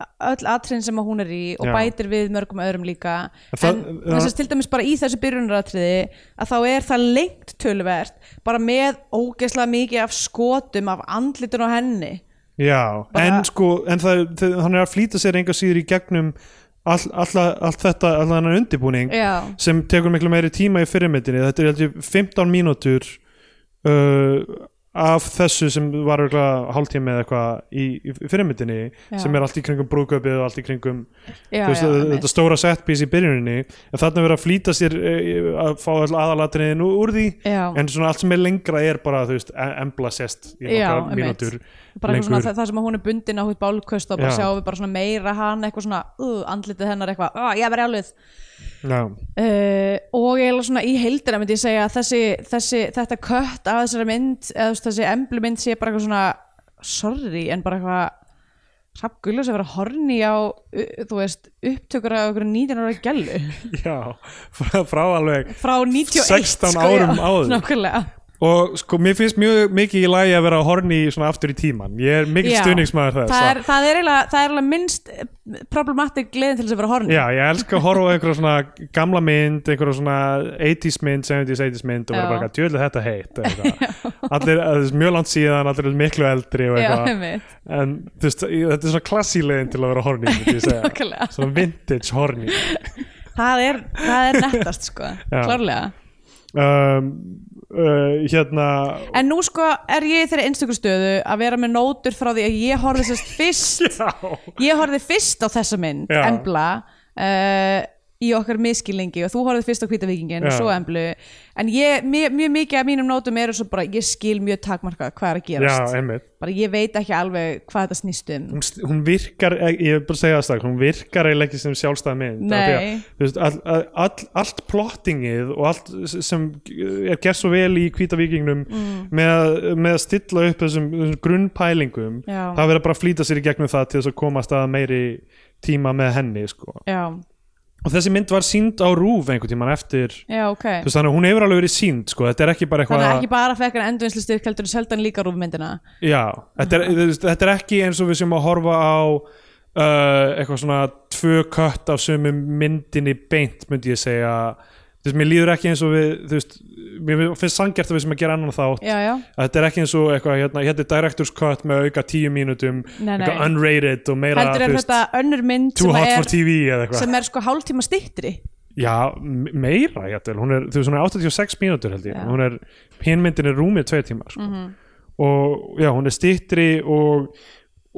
[SPEAKER 3] öll atriðin sem að hún er í og
[SPEAKER 2] Já.
[SPEAKER 3] bætir við mörgum öðrum líka
[SPEAKER 2] En það-
[SPEAKER 3] en þess að til dæmis bara í þessu byrjunaratriði að þá er það lengt tölvert bara með ógeðslega mikið af skotum af andlitun á henni
[SPEAKER 2] Já,
[SPEAKER 3] Bara-
[SPEAKER 2] en sko en það, það, hann er að flýta sér enga síður í gegnum all, all, allt þetta allan hann undirbúning
[SPEAKER 3] Já.
[SPEAKER 2] sem tekur miklu meiri tíma í fyrirmyndinni þetta er heldur 15 mínútur uh, af þessu sem var örugglega hálftími eða eitthvað í, í fyrirmyndinni
[SPEAKER 3] Já.
[SPEAKER 2] sem er allt í kringum brúðkaupið og allt í kringum þú
[SPEAKER 3] já,
[SPEAKER 2] veist,
[SPEAKER 3] já,
[SPEAKER 2] þetta-
[SPEAKER 3] einmitt.
[SPEAKER 2] þetta stóra setpiece í byrjuninni en þarna er verið að flýta sér uh, að fá aðalatriðin úr því
[SPEAKER 3] Já.
[SPEAKER 2] en svona allt sem er lengra er bara þú veist, e- embla sest í
[SPEAKER 3] Já,
[SPEAKER 2] nokkra
[SPEAKER 3] einmitt.
[SPEAKER 2] mínútur
[SPEAKER 3] bara eitthvað svona
[SPEAKER 2] lengur.
[SPEAKER 3] það, það sem að hún er bundin á hútt bálkvöst og bara
[SPEAKER 2] Já.
[SPEAKER 3] sjáum við bara svona meira hann eitthvað svona uh, andlitið hennar eitthvað, uh, ég verði alveg
[SPEAKER 2] Já,
[SPEAKER 3] Uh, og eiginlega svona í heildina myndi ég segja að þessi, þessi, þetta kött af þessari mynd, eða þú veist, þessi emblumynd sé bara eitthvað svona, sorry en bara eitthvað Rapp Gullus að vera horni á, uh, þú veist upptökur af einhverju 19 ára gælu
[SPEAKER 2] já, frá, frá alveg
[SPEAKER 3] frá 91
[SPEAKER 2] 16 árum
[SPEAKER 3] sko, já,
[SPEAKER 2] áður.
[SPEAKER 3] nákvæmlega
[SPEAKER 2] og sko, mér finnst mjög mikið í lagi að vera að horni svona aftur í tíman ég er mikil
[SPEAKER 3] Já.
[SPEAKER 2] stuðningsmaður sko. þess
[SPEAKER 3] það er,
[SPEAKER 2] að-
[SPEAKER 3] það er eiginlega, það er eiginlega minnst eh, problematic gleðin til þess að vera horni
[SPEAKER 2] Já, ég elska að horfa á einhverja svona gamla mynd, einhverja svona 80s mynd, 70s, 80s mynd og vera
[SPEAKER 3] Já.
[SPEAKER 2] bara djöðlega þetta heitt eða eitthvað. allir, það er mjög langt síðan, allir eru miklu eldri og
[SPEAKER 3] Já,
[SPEAKER 2] eitthvað
[SPEAKER 3] einmitt.
[SPEAKER 2] en þú veist, ég- þetta er svona klassílegin til að vera horni, myndi ég segja
[SPEAKER 3] Nákvæmlega.
[SPEAKER 2] svona vintage horni
[SPEAKER 3] það er, það er nettast sko,
[SPEAKER 2] Já.
[SPEAKER 3] klárlega
[SPEAKER 2] um, uh, hérna
[SPEAKER 3] En nú sko er ég í þeirri einstöku stöðu að vera með nótur frá því að ég horfði sérst fyrst
[SPEAKER 2] Já,
[SPEAKER 3] ég horfði fyrst á þessa mynd,
[SPEAKER 2] Já.
[SPEAKER 3] Embla uh, í okkar miskilengi og þú horfðið fyrst á hvítavingin og
[SPEAKER 2] Já.
[SPEAKER 3] svo emblu en ég, mjög, mjög mikið af mínum nótum eru svo bara ég skil mjög takmarkað hvað er að
[SPEAKER 2] já, Mm.
[SPEAKER 3] gerast
[SPEAKER 2] einmitt
[SPEAKER 3] bara ég veit ekki alveg hvað þetta snýst um
[SPEAKER 2] hún, hún virkar, eh, ég ég vil bara segja það strax hún virkar eiginlega ekki sem sjálfstæð mynd af því að,
[SPEAKER 3] Nei.
[SPEAKER 2] þú veist, all, all, all, allt plottingið og allt sem er gert svo vel í kvítavíkingnum mm. með, að- með að stilla upp þessum, þessum grunnpælingum
[SPEAKER 3] Já.
[SPEAKER 2] það verður bara að flýta sér í gegnum það til þess að komast að meiri tíma með henni sko.
[SPEAKER 3] já,
[SPEAKER 2] og þessi mynd var sínd á rúf einhvern tíman eftir
[SPEAKER 3] já, ok
[SPEAKER 2] þú veist, þannig að hún hefur alveg verið sínd sko. þetta er ekki bara
[SPEAKER 3] þannig
[SPEAKER 2] eitthvað
[SPEAKER 3] að ekki bara fekk hann endurvinnslu styrk heldur seldan líka rúfmyndina
[SPEAKER 2] Já, þetta er, þú veist, þetta er ekki eins og við sem að horfa á uh, eitthvað svona tvö kött af sömu myndinni beint myndi ég segja þú veist, mér líður ekki eins og við þú veist, mér finnst sangjart að við sem að gera annan þátt
[SPEAKER 3] já, já,
[SPEAKER 2] að þetta er ekki eins og eitthvað hérna, hérna er director's cut með auka tíu mínútum
[SPEAKER 3] Nei, nei.
[SPEAKER 2] eitthvað unrated og meira
[SPEAKER 3] heldur
[SPEAKER 2] þú
[SPEAKER 3] er
[SPEAKER 2] veist,
[SPEAKER 3] þetta önnur mynd
[SPEAKER 2] too
[SPEAKER 3] sem
[SPEAKER 2] hot for
[SPEAKER 3] er,
[SPEAKER 2] TV eða eitthvað
[SPEAKER 3] sem er sko hálftíma styttri
[SPEAKER 2] já, me- meira hérna, hún er, þú veist, hún er 86 mínútur held ég
[SPEAKER 3] Já. Mhm.
[SPEAKER 2] hún er, hinmyndin er rúmið tveir tímar sko. og já, hún er stýttri og,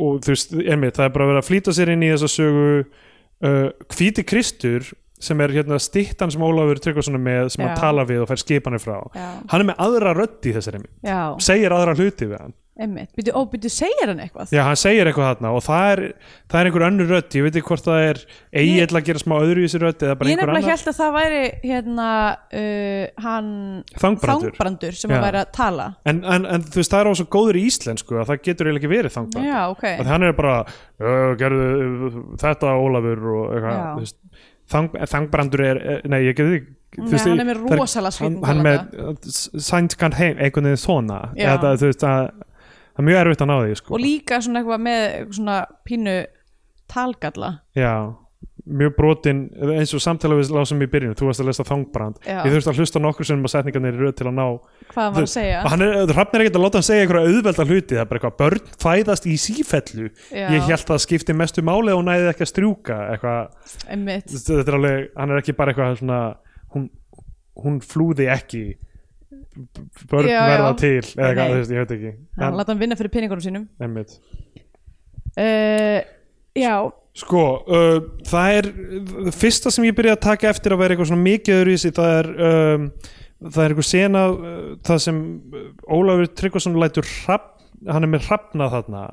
[SPEAKER 2] og þú veist, einmitt, það er bara að vera að flýta sér inn í þessa sögu uh, hvíti kristur sem er hérna stýttan sem Ólafur Tryggvason er með sem hann
[SPEAKER 3] Já.
[SPEAKER 2] tala við og fær skipanir frá
[SPEAKER 3] Já.
[SPEAKER 2] hann er með aðra rödd í þessari mynd
[SPEAKER 3] já,
[SPEAKER 2] segir aðra hluti við hann
[SPEAKER 3] einmitt, byrju, ó, byrju, segir hann eitthvað
[SPEAKER 2] Já, hann segir eitthvað þarna og það er, það er einhver önnur rödd, ég veit ekki hvort það er
[SPEAKER 3] Ég-
[SPEAKER 2] eiginlega að gera smá öðru í þessi rödd eða bara
[SPEAKER 3] ég
[SPEAKER 2] einhver
[SPEAKER 3] nefnilega
[SPEAKER 2] annar
[SPEAKER 3] held að það væri hérna uh, hann
[SPEAKER 2] Þangbrandur.
[SPEAKER 3] þangbrandur sem
[SPEAKER 2] Já.
[SPEAKER 3] að væri að tala
[SPEAKER 2] en, en, en þú veist, það er á svo góður í íslensku að það getur eiginlega ekki verið þangbrandur
[SPEAKER 3] já, ok,
[SPEAKER 2] og hann er bara "Ö, gerðu ö, þetta Ólafur og eitthvað
[SPEAKER 3] Já.
[SPEAKER 2] þú veist. Þang, þangbrandur er eh, nei ég getur
[SPEAKER 3] Nei, hann er með rosalega skrýtna
[SPEAKER 2] hann, hann
[SPEAKER 3] talanda.
[SPEAKER 2] með sænskan heim einhvern veginn svona
[SPEAKER 3] Já.
[SPEAKER 2] þetta, þú veist að það er mjög erfitt að ná því sko.
[SPEAKER 3] og líka svona eitthvað með eitthvað svona pínu talgalla
[SPEAKER 2] já mjög brotin eins og samtala við lásum í byrjun þú varst að lesa þangbrand
[SPEAKER 3] Já.
[SPEAKER 2] ég þurfti að hlusta nokkur sem að setningarnir í röð til að ná
[SPEAKER 3] hvað hann var að segja
[SPEAKER 2] hann er, Hrafn er ekkert að láta hann segja einhverja auðvelda hluti það er bara eitthvað, börn fæðast í sífellu
[SPEAKER 3] Já.
[SPEAKER 2] ég held það skipti mestu máli og næði ekki að strjúka eitthvað
[SPEAKER 3] einmitt,
[SPEAKER 2] Þetta- þetta er alveg, hann er ekki bara eitthvað svona, hún, hún flúði ekki börn
[SPEAKER 3] Já, já.
[SPEAKER 2] verða til eða
[SPEAKER 3] Nei,
[SPEAKER 2] eitthvað,
[SPEAKER 3] nei.
[SPEAKER 2] þú veist, ég veit ekki
[SPEAKER 3] hann
[SPEAKER 2] en,
[SPEAKER 3] láta hann vinna fyrir peningunum sínum
[SPEAKER 2] einmitt.
[SPEAKER 3] uh, já,
[SPEAKER 2] sko, uh, það er það fyrsta sem ég byrja að taka eftir að vera eitthvað svona mikið öðru í sig, það er um, það er eitthvað sena uh, það sem uh, Ólafur Tryggvason lætur hrapp, hann er með hrafna þarna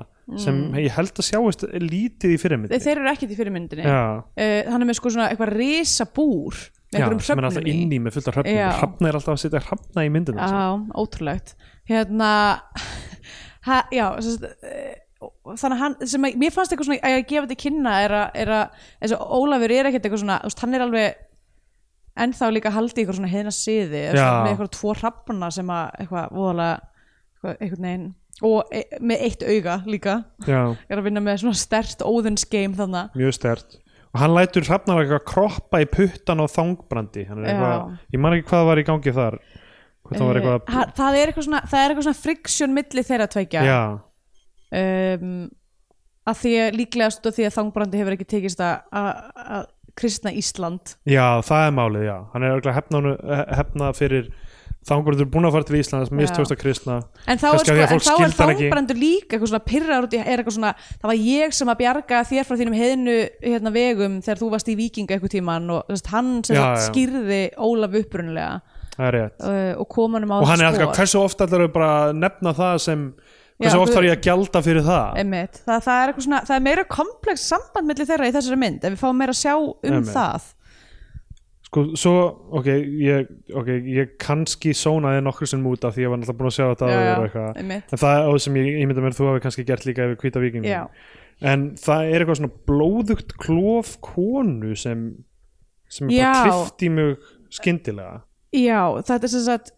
[SPEAKER 2] sem
[SPEAKER 3] Mm.
[SPEAKER 2] ég held að sjáist lítið í fyrirmyndi
[SPEAKER 3] þeir, þeir eru ekkert í fyrirmyndinni uh,
[SPEAKER 2] já,
[SPEAKER 3] hann er með sko svona eitthvað risabúr með
[SPEAKER 2] já,
[SPEAKER 3] einhverjum
[SPEAKER 2] sem er alltaf
[SPEAKER 3] hröfnum í
[SPEAKER 2] inn í með fullt af hrafnum
[SPEAKER 3] Já.
[SPEAKER 2] hrafna er alltaf að setja hrafna í myndina sko. sína.
[SPEAKER 3] Já, ótrúlegt hérna ha, já, sest, þannig að hann sem að, mér fannst eitthvað svona að ég gefa þetta í kynna er að, er að eins og Ólafur er ekkert eitthvað svona þú veist, hann er alveg ennþá líka haldið í eitthvað svona heiðna siði eða
[SPEAKER 2] Já.
[SPEAKER 3] svona með eitthvað tvo hrafna sem að eitthvað voðalega eitthvað, eitthvað neginn og e með eitt auga líka
[SPEAKER 2] já
[SPEAKER 3] er að vinna með svona stert óðinsgeim þannig
[SPEAKER 2] mjög stert og hann lætur hrafnar eitthvað kroppa í puttan á þangbrandi Hann er
[SPEAKER 3] Já. Eh,
[SPEAKER 2] eitthvað, ég man ekki hvað var í gangi þar hvað það var eitthvað
[SPEAKER 3] það, það er eitthvað svona, það er eitthvað svona friksjón milli þeirra tveikja
[SPEAKER 2] já,
[SPEAKER 3] um, að því að líklegast og því að þangbrandi hefur ekki tekist að- að að kristna Ísland
[SPEAKER 2] já, það er málið já. hann er örugglega hefna, honum- eh, hefna fyrir þangbrandur búin að fara til Íslands mistókst að kristna
[SPEAKER 3] en þá er,
[SPEAKER 2] Kannski af
[SPEAKER 3] sko,
[SPEAKER 2] því að
[SPEAKER 3] en
[SPEAKER 2] fólk
[SPEAKER 3] þá er
[SPEAKER 2] skildi hann ekki.
[SPEAKER 3] þangbrandur líka eitthvað svona pyrrar út í, er eitthvað svona það var ég sem að bjarga þér frá þínum heiðnu hérna, vegum þegar þú varst í vikinga eitthvað tíman og þess, hann sem
[SPEAKER 2] Já,
[SPEAKER 3] sagt,
[SPEAKER 2] já.
[SPEAKER 3] skýrði Ólaf upprunulega
[SPEAKER 2] það er rétt
[SPEAKER 3] uh, og kom hann um á
[SPEAKER 2] og hann er
[SPEAKER 3] það
[SPEAKER 2] alltaf,
[SPEAKER 3] spor.
[SPEAKER 2] hversu oft ætlar bara að nefna það sem hversu
[SPEAKER 3] Já,
[SPEAKER 2] oft
[SPEAKER 3] þú-
[SPEAKER 2] þarf ég að gjalda fyrir það
[SPEAKER 3] Einmitt. Það, það, er eitthvað svona, það er meira komplex samband milli þeirra í þessari mynd ef við fáum meira að sjá um
[SPEAKER 2] Einmitt.
[SPEAKER 3] það
[SPEAKER 2] sko, svo, ok ég, okay, ég kannski sónaði nokkur sem út af því ég var náttúrulega búin að sjá þetta
[SPEAKER 3] Já,
[SPEAKER 2] áður
[SPEAKER 3] já,
[SPEAKER 2] og eitthvað.
[SPEAKER 3] einmitt.
[SPEAKER 2] en það og sem ég ímynda mér að þú hafi kannski gert líka yfir hvita vikingum
[SPEAKER 3] Já.
[SPEAKER 2] en það er eitthvað svona blóðugt klof konu sem sem er bara
[SPEAKER 3] Já.
[SPEAKER 2] klift í mjög skyndilega
[SPEAKER 3] Já, þetta er sem sagt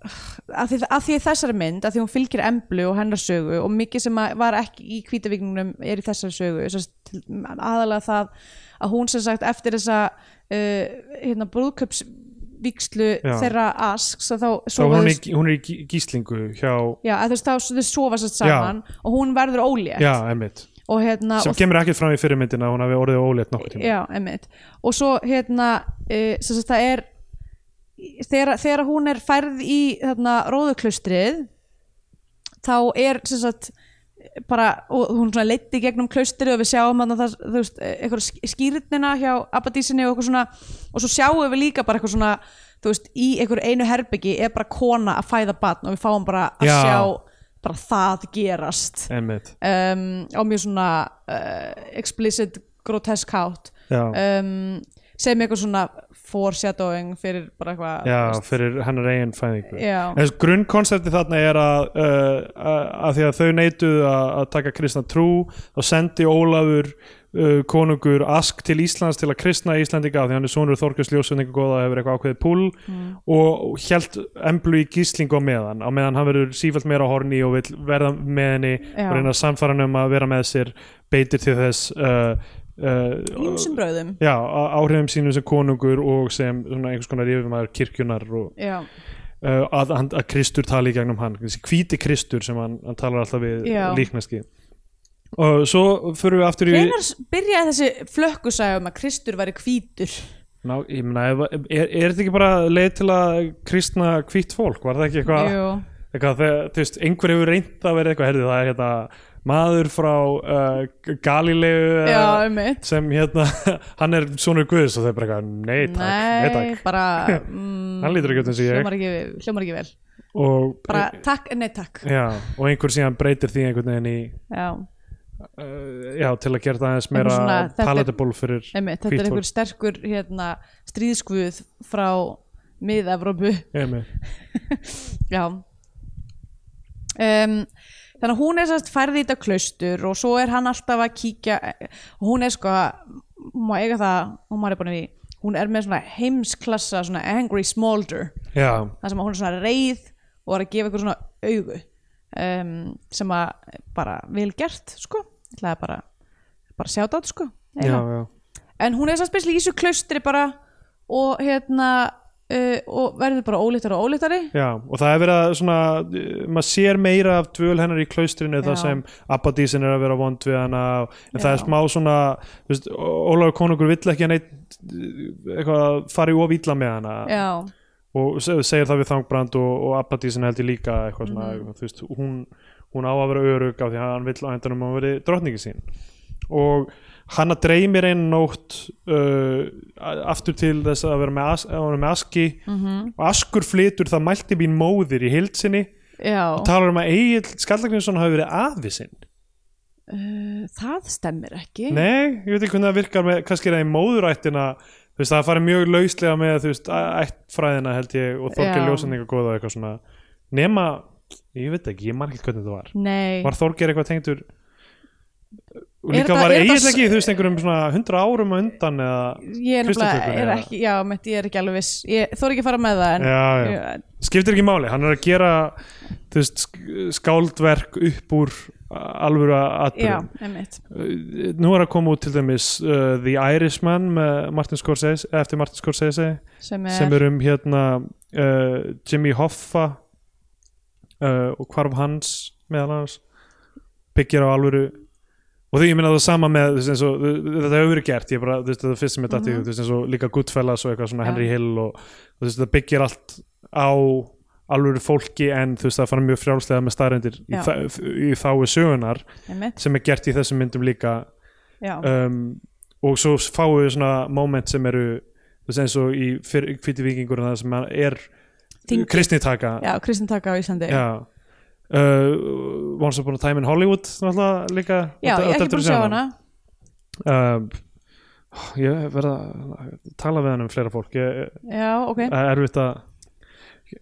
[SPEAKER 3] að því, að því þessari mynd, að því hún fylgir emblu og hennar sögu og mikið sem að var ekki í kvítavíkningnum er í þessari sögu sem sagt, til- aðalega það að hún sem sagt eftir þessa uh, hérna brúðköpsvíkslu
[SPEAKER 2] Já.
[SPEAKER 3] þeirra asks að þá
[SPEAKER 2] þá
[SPEAKER 3] sofa
[SPEAKER 2] hún er,
[SPEAKER 3] þau
[SPEAKER 2] í- hún er í gí- gíslingu hjá,
[SPEAKER 3] Já, að þú veist þá þau sofa sérst saman og hún verður ólétt
[SPEAKER 2] já, emmitt
[SPEAKER 3] og hérna
[SPEAKER 2] sem
[SPEAKER 3] og
[SPEAKER 2] kemur ekkert fram í fyrirmyndina að hún hafi orðið ólétt nokkuð tíma
[SPEAKER 3] Já, einmitt. Og svo hérna, uh, sem sagt það er þegar, þegar hún hérna, er færð í þarna, róðuklaustrið þá er sem sagt bara, og hún svona leitti gegnum klaustrið og við sjáum hann það, þú veist, e, eitthvað skýrnina hjá Abadísinni og eitthvað svona, og svo sjáum við líka bara eitthvað svona, þú veist, í eitthvað einu herbyggi er bara kona að fæða batn og við fáum bara að
[SPEAKER 2] Já.
[SPEAKER 3] sjá bara það gerast
[SPEAKER 2] Einmitt.
[SPEAKER 3] um, á mjög svona uh, explicit, grotesk hátt
[SPEAKER 2] Já.
[SPEAKER 3] um, sem eitthvað svona foreshadowing fyrir bara eitthvað
[SPEAKER 2] Já, fyrir hennar eigin fæðingu
[SPEAKER 3] Já.
[SPEAKER 2] Þess grunnkonsepti þarna er að, uh, að, að því að þau neituðu að, að taka kristna trú og sendi Ólafur uh, konungur Ask til Íslands til að kristna Íslandinga af því hann er sonur Þorkjus Ljósunningu góða og hefur eitthvað ákveðið púl
[SPEAKER 3] Mm.
[SPEAKER 2] og hjælt emblu í gíslingu á meðan á meðan hann verður sífælt meira á horni og vill verða með henni
[SPEAKER 3] Já.
[SPEAKER 2] og reyna að sannfæra hann um að vera með sér beitir til þess uh, uh,
[SPEAKER 3] ímsum bröðum
[SPEAKER 2] Já, á- áhrifum sínum sem konungur og sem svona einhvers konar yfirmaður kirkjunar og
[SPEAKER 3] já,
[SPEAKER 2] uh, að, hann- að Kristur tali í gegnum hann, þessi hvíti Kristur sem hann, hann talar alltaf við
[SPEAKER 3] Já.
[SPEAKER 2] líknaski og svo förum við aftur í
[SPEAKER 3] hvenar byrjaði þessi flökkusæg um að Kristur væri hvítur
[SPEAKER 2] Ná, ég meina, ef- er, er þetta ekki bara leið til að kristna hvítt fólk, var það ekki eitthvað
[SPEAKER 3] Jú.
[SPEAKER 2] eitthvað þegar, þú veist, einhver hefur reynd að vera eitthvað, herði, það er hérna maður frá uh, Galilegu eða-
[SPEAKER 3] já, um eitt
[SPEAKER 2] sem hérna, hann er sonur Guðs og þau bara eitthvað, nei takk, nei
[SPEAKER 3] nei,
[SPEAKER 2] takk
[SPEAKER 3] bara mm,
[SPEAKER 2] Hann lítur ekki út eins og ég. Eh,
[SPEAKER 3] hljómar ekki, hljómar ekki vel
[SPEAKER 2] og
[SPEAKER 3] bara takk, eh, nei takk já,
[SPEAKER 2] Já, og einhver síðan breytir því einhvern veginn í
[SPEAKER 3] um
[SPEAKER 2] uh, já, til að gera það aðeins
[SPEAKER 3] Eitthvað
[SPEAKER 2] meira
[SPEAKER 3] svona, þetta er-
[SPEAKER 2] palatable fyrir
[SPEAKER 3] eitt þetta
[SPEAKER 2] hvítt
[SPEAKER 3] er
[SPEAKER 2] fólk.
[SPEAKER 3] einhver sterkur hérna, stríðskvuð frá mið-Evrópu
[SPEAKER 2] Einmitt.
[SPEAKER 3] Já um, Þannig að hún er sérst færði í þetta klaustur og svo er hann alltaf að kíkja og hún er sko hún má eiga það, hún maður er búin að því hún er með svona heimsklassa, svona angry smolder
[SPEAKER 2] Já,
[SPEAKER 3] það sem að hún er svona reið og er að gefa eitthvað svona augu um, sem að bara vel gert sko, ég ætlaði bara bara sjá þetta sko
[SPEAKER 2] já,
[SPEAKER 3] eiginlega.
[SPEAKER 2] já
[SPEAKER 3] en hún er sérst besli í þessu klaustri bara og hérna uh, og verður bara ólítari og ólítari
[SPEAKER 2] Já, og það er verið að svona uh, maður sér meira af dvöl hennar í klaustrinu það
[SPEAKER 3] Já.
[SPEAKER 2] sem Abbadísin er að vera vond við hana en það
[SPEAKER 3] Já.
[SPEAKER 2] er smá svona þú veist, Ólafur konungur vill ekki að neitt uh, eitthvað fari of illa með hana
[SPEAKER 3] Já.
[SPEAKER 2] og se- segir það við Þangbrand og, og Abbadísin heldur líka eitthvað svona, þú veist, hún, hún á að vera örug af því að hann vill á endanum að veri drottningi sín og hanna dreymir einn nótt uh, a- aftur til þess að vera með, as, að vera með aski
[SPEAKER 3] mhm.
[SPEAKER 2] -hmm. og askur flytur það mælti mín móðir í heild sinni
[SPEAKER 3] Já,
[SPEAKER 2] og talar um að Egil Skallagrinsson hafi verið afi sinn
[SPEAKER 3] eh, það stemmir ekki
[SPEAKER 2] Nei, ég veit ekki hvernig það virkar með, kannski er það í móðurættina þú veist, það farið mjög lauslega með þú veist, æ- ættfræðina held ég og
[SPEAKER 3] Já.
[SPEAKER 2] Þorgeir ljósendinga góða og eitthvað svona nema, ég veit ekki, ég man ekki hvernig það var
[SPEAKER 3] Nei,
[SPEAKER 2] var Þorgeir eitthvað tengdur og
[SPEAKER 3] Er
[SPEAKER 2] líka
[SPEAKER 3] þetta-
[SPEAKER 2] var
[SPEAKER 3] er þetta
[SPEAKER 2] eiginlega ekki, þú veist, einhverjum svona 100 árum á undan eða
[SPEAKER 3] ég er nefnilega
[SPEAKER 2] Kristofer,
[SPEAKER 3] er
[SPEAKER 2] eða?
[SPEAKER 3] ekki, já, mitt, ég er ekki alveg viss ég þóri ekki að fara með það en,
[SPEAKER 2] Já, já.
[SPEAKER 3] Ég-
[SPEAKER 2] skiptir ekki máli, hann er að gera þú veist, sk- skáldverk upp úr alvöru
[SPEAKER 3] já,
[SPEAKER 2] aðbyrðum
[SPEAKER 3] einmitt
[SPEAKER 2] Uh, nú er að koma út til dæmis uh, The Irishman með Martin Scorsese eftir Martin Scorsese
[SPEAKER 3] sem er,
[SPEAKER 2] sem er um hérna uh, Jimmy Hoffa uh, og hvarf hans meðal hans byggir á alvöru og því ég minna það sama með þú veist, eins og, þetta hefur verið gert, ég bara, þú veist, það fyrst sem ég dætti mm -hmm. eins og líka Goodfellas og eitthvað svona
[SPEAKER 3] Mhm. Já.
[SPEAKER 2] Henry Hill og þú veist, það byggir allt á alvöru fólki en þú veist, það fara mjög frjálslega með staðrendir í,
[SPEAKER 3] Já.
[SPEAKER 2] þa- í þáu sögunar
[SPEAKER 3] einmitt,
[SPEAKER 2] sem er gert í þessum myndum líka
[SPEAKER 3] já,
[SPEAKER 2] um, og svo fáum við svona moment sem eru þú veist eins og í fyr- hvíti vikingur það sem hann er
[SPEAKER 3] Þingið.
[SPEAKER 2] kristni taka
[SPEAKER 3] já, kristin taka á Íslandi
[SPEAKER 2] Já. Uh, Once Upon a Time in Hollywood náttúrulega líka
[SPEAKER 3] Já, ég er ekki búin að sjá hana
[SPEAKER 2] um, ég verða að tala við hann um fleira fólk ég,
[SPEAKER 3] já, ok,
[SPEAKER 2] það er erfitt að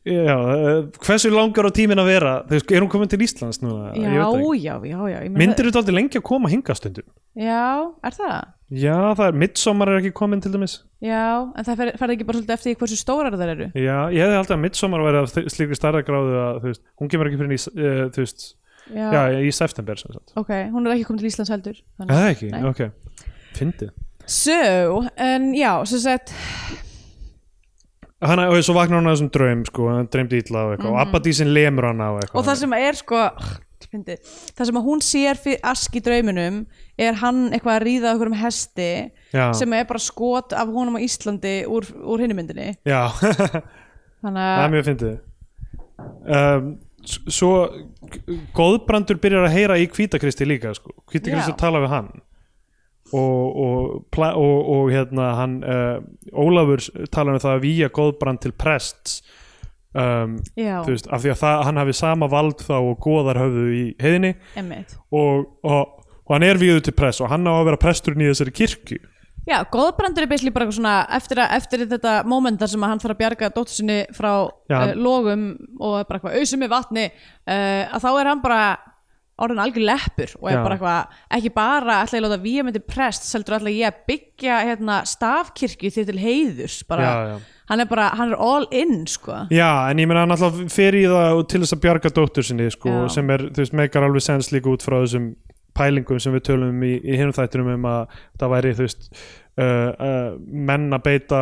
[SPEAKER 2] Já, uh, hversu langar á tíminn að vera þú veist, er hún komin til Íslands núna?
[SPEAKER 3] já,
[SPEAKER 2] Ég veit það ekki.
[SPEAKER 3] já, já, já ég meina
[SPEAKER 2] myndir þetta aldrei lengi að koma hingastundum?
[SPEAKER 3] það- já, er það?
[SPEAKER 2] Já, það er, midsommar er ekki komin til dæmis
[SPEAKER 3] já, en það fer- ferði ekki bara svolítið eftir því hversu stórar þær eru
[SPEAKER 2] Já, ég hefði haldið að Midsommar væri af þe- slíkri starðagráðu að, þú veist, hún kemur ekki fyrir í, s- eh, þú veist,
[SPEAKER 3] já,
[SPEAKER 2] já, Eh? í september sem sagt.
[SPEAKER 3] ok, hún er ekki komin til Íslands heldur þannig.
[SPEAKER 2] Það ekki,
[SPEAKER 3] Nei.
[SPEAKER 2] ok. Fyndið.
[SPEAKER 3] so, en já, sem sagt
[SPEAKER 2] Hanna, og svo vaknar hún að þessum draum, sko, hann dreymdi illa og eitthvað, og Abbadísin lemur hana Mhm. og eitthvað.
[SPEAKER 3] og það sem er sko fyndi, það sem að hún sér fyrir ask í drauminum er hann eitthvað að ríða okkur um hesti
[SPEAKER 2] Já.
[SPEAKER 3] sem er bara skot af honum á Íslandi úr, úr hinni myndinni
[SPEAKER 2] Já, það
[SPEAKER 3] þannig
[SPEAKER 2] er
[SPEAKER 3] að
[SPEAKER 2] mjög fyndið. Um, s- svo góðbrandur byrjar að heyra í Hvítakristi líka sko. Hvítakristi
[SPEAKER 3] Já.
[SPEAKER 2] tala við hann og, og, pla, og, og hérna hann uh, Ólafur s- talar um það að víja góðbrand til prests um,
[SPEAKER 3] já,
[SPEAKER 2] þú veist, af því að það, hann hafi sama vald þá og góðar höfðu í heiðinni
[SPEAKER 3] emmitt
[SPEAKER 2] og, og, og hann er víðu til press og hann á að vera presturinn í þessari kirkju
[SPEAKER 3] Já, góðbrandur er beisli bara eitthvað svona eftir, að, eftir þetta moment þar sem að hann þarf að bjarga dóttusinni frá
[SPEAKER 2] Já.
[SPEAKER 3] uh, logum og er bara eitthvað ausum í vatni uh, að þá er hann bara orðin algjör leppur og er
[SPEAKER 2] Já.
[SPEAKER 3] bara eitthvað ekki bara ætla ég að láta við myndi prest heldur ætla ég að byggja hérna, stafkirkju því til heiðurs bara,
[SPEAKER 2] Já, já.
[SPEAKER 3] hann er bara, hann er all in sko.
[SPEAKER 2] Já, en ég meina hann alltaf fer í það og til þess að bjarga dóttur sinni sko,
[SPEAKER 3] Já.
[SPEAKER 2] sem er, þú veist, meikar alveg sens líka út frá þessum pælingum sem við tölum um í, í hinum þættunum um að það væri, þú veist uh, uh, menn að beita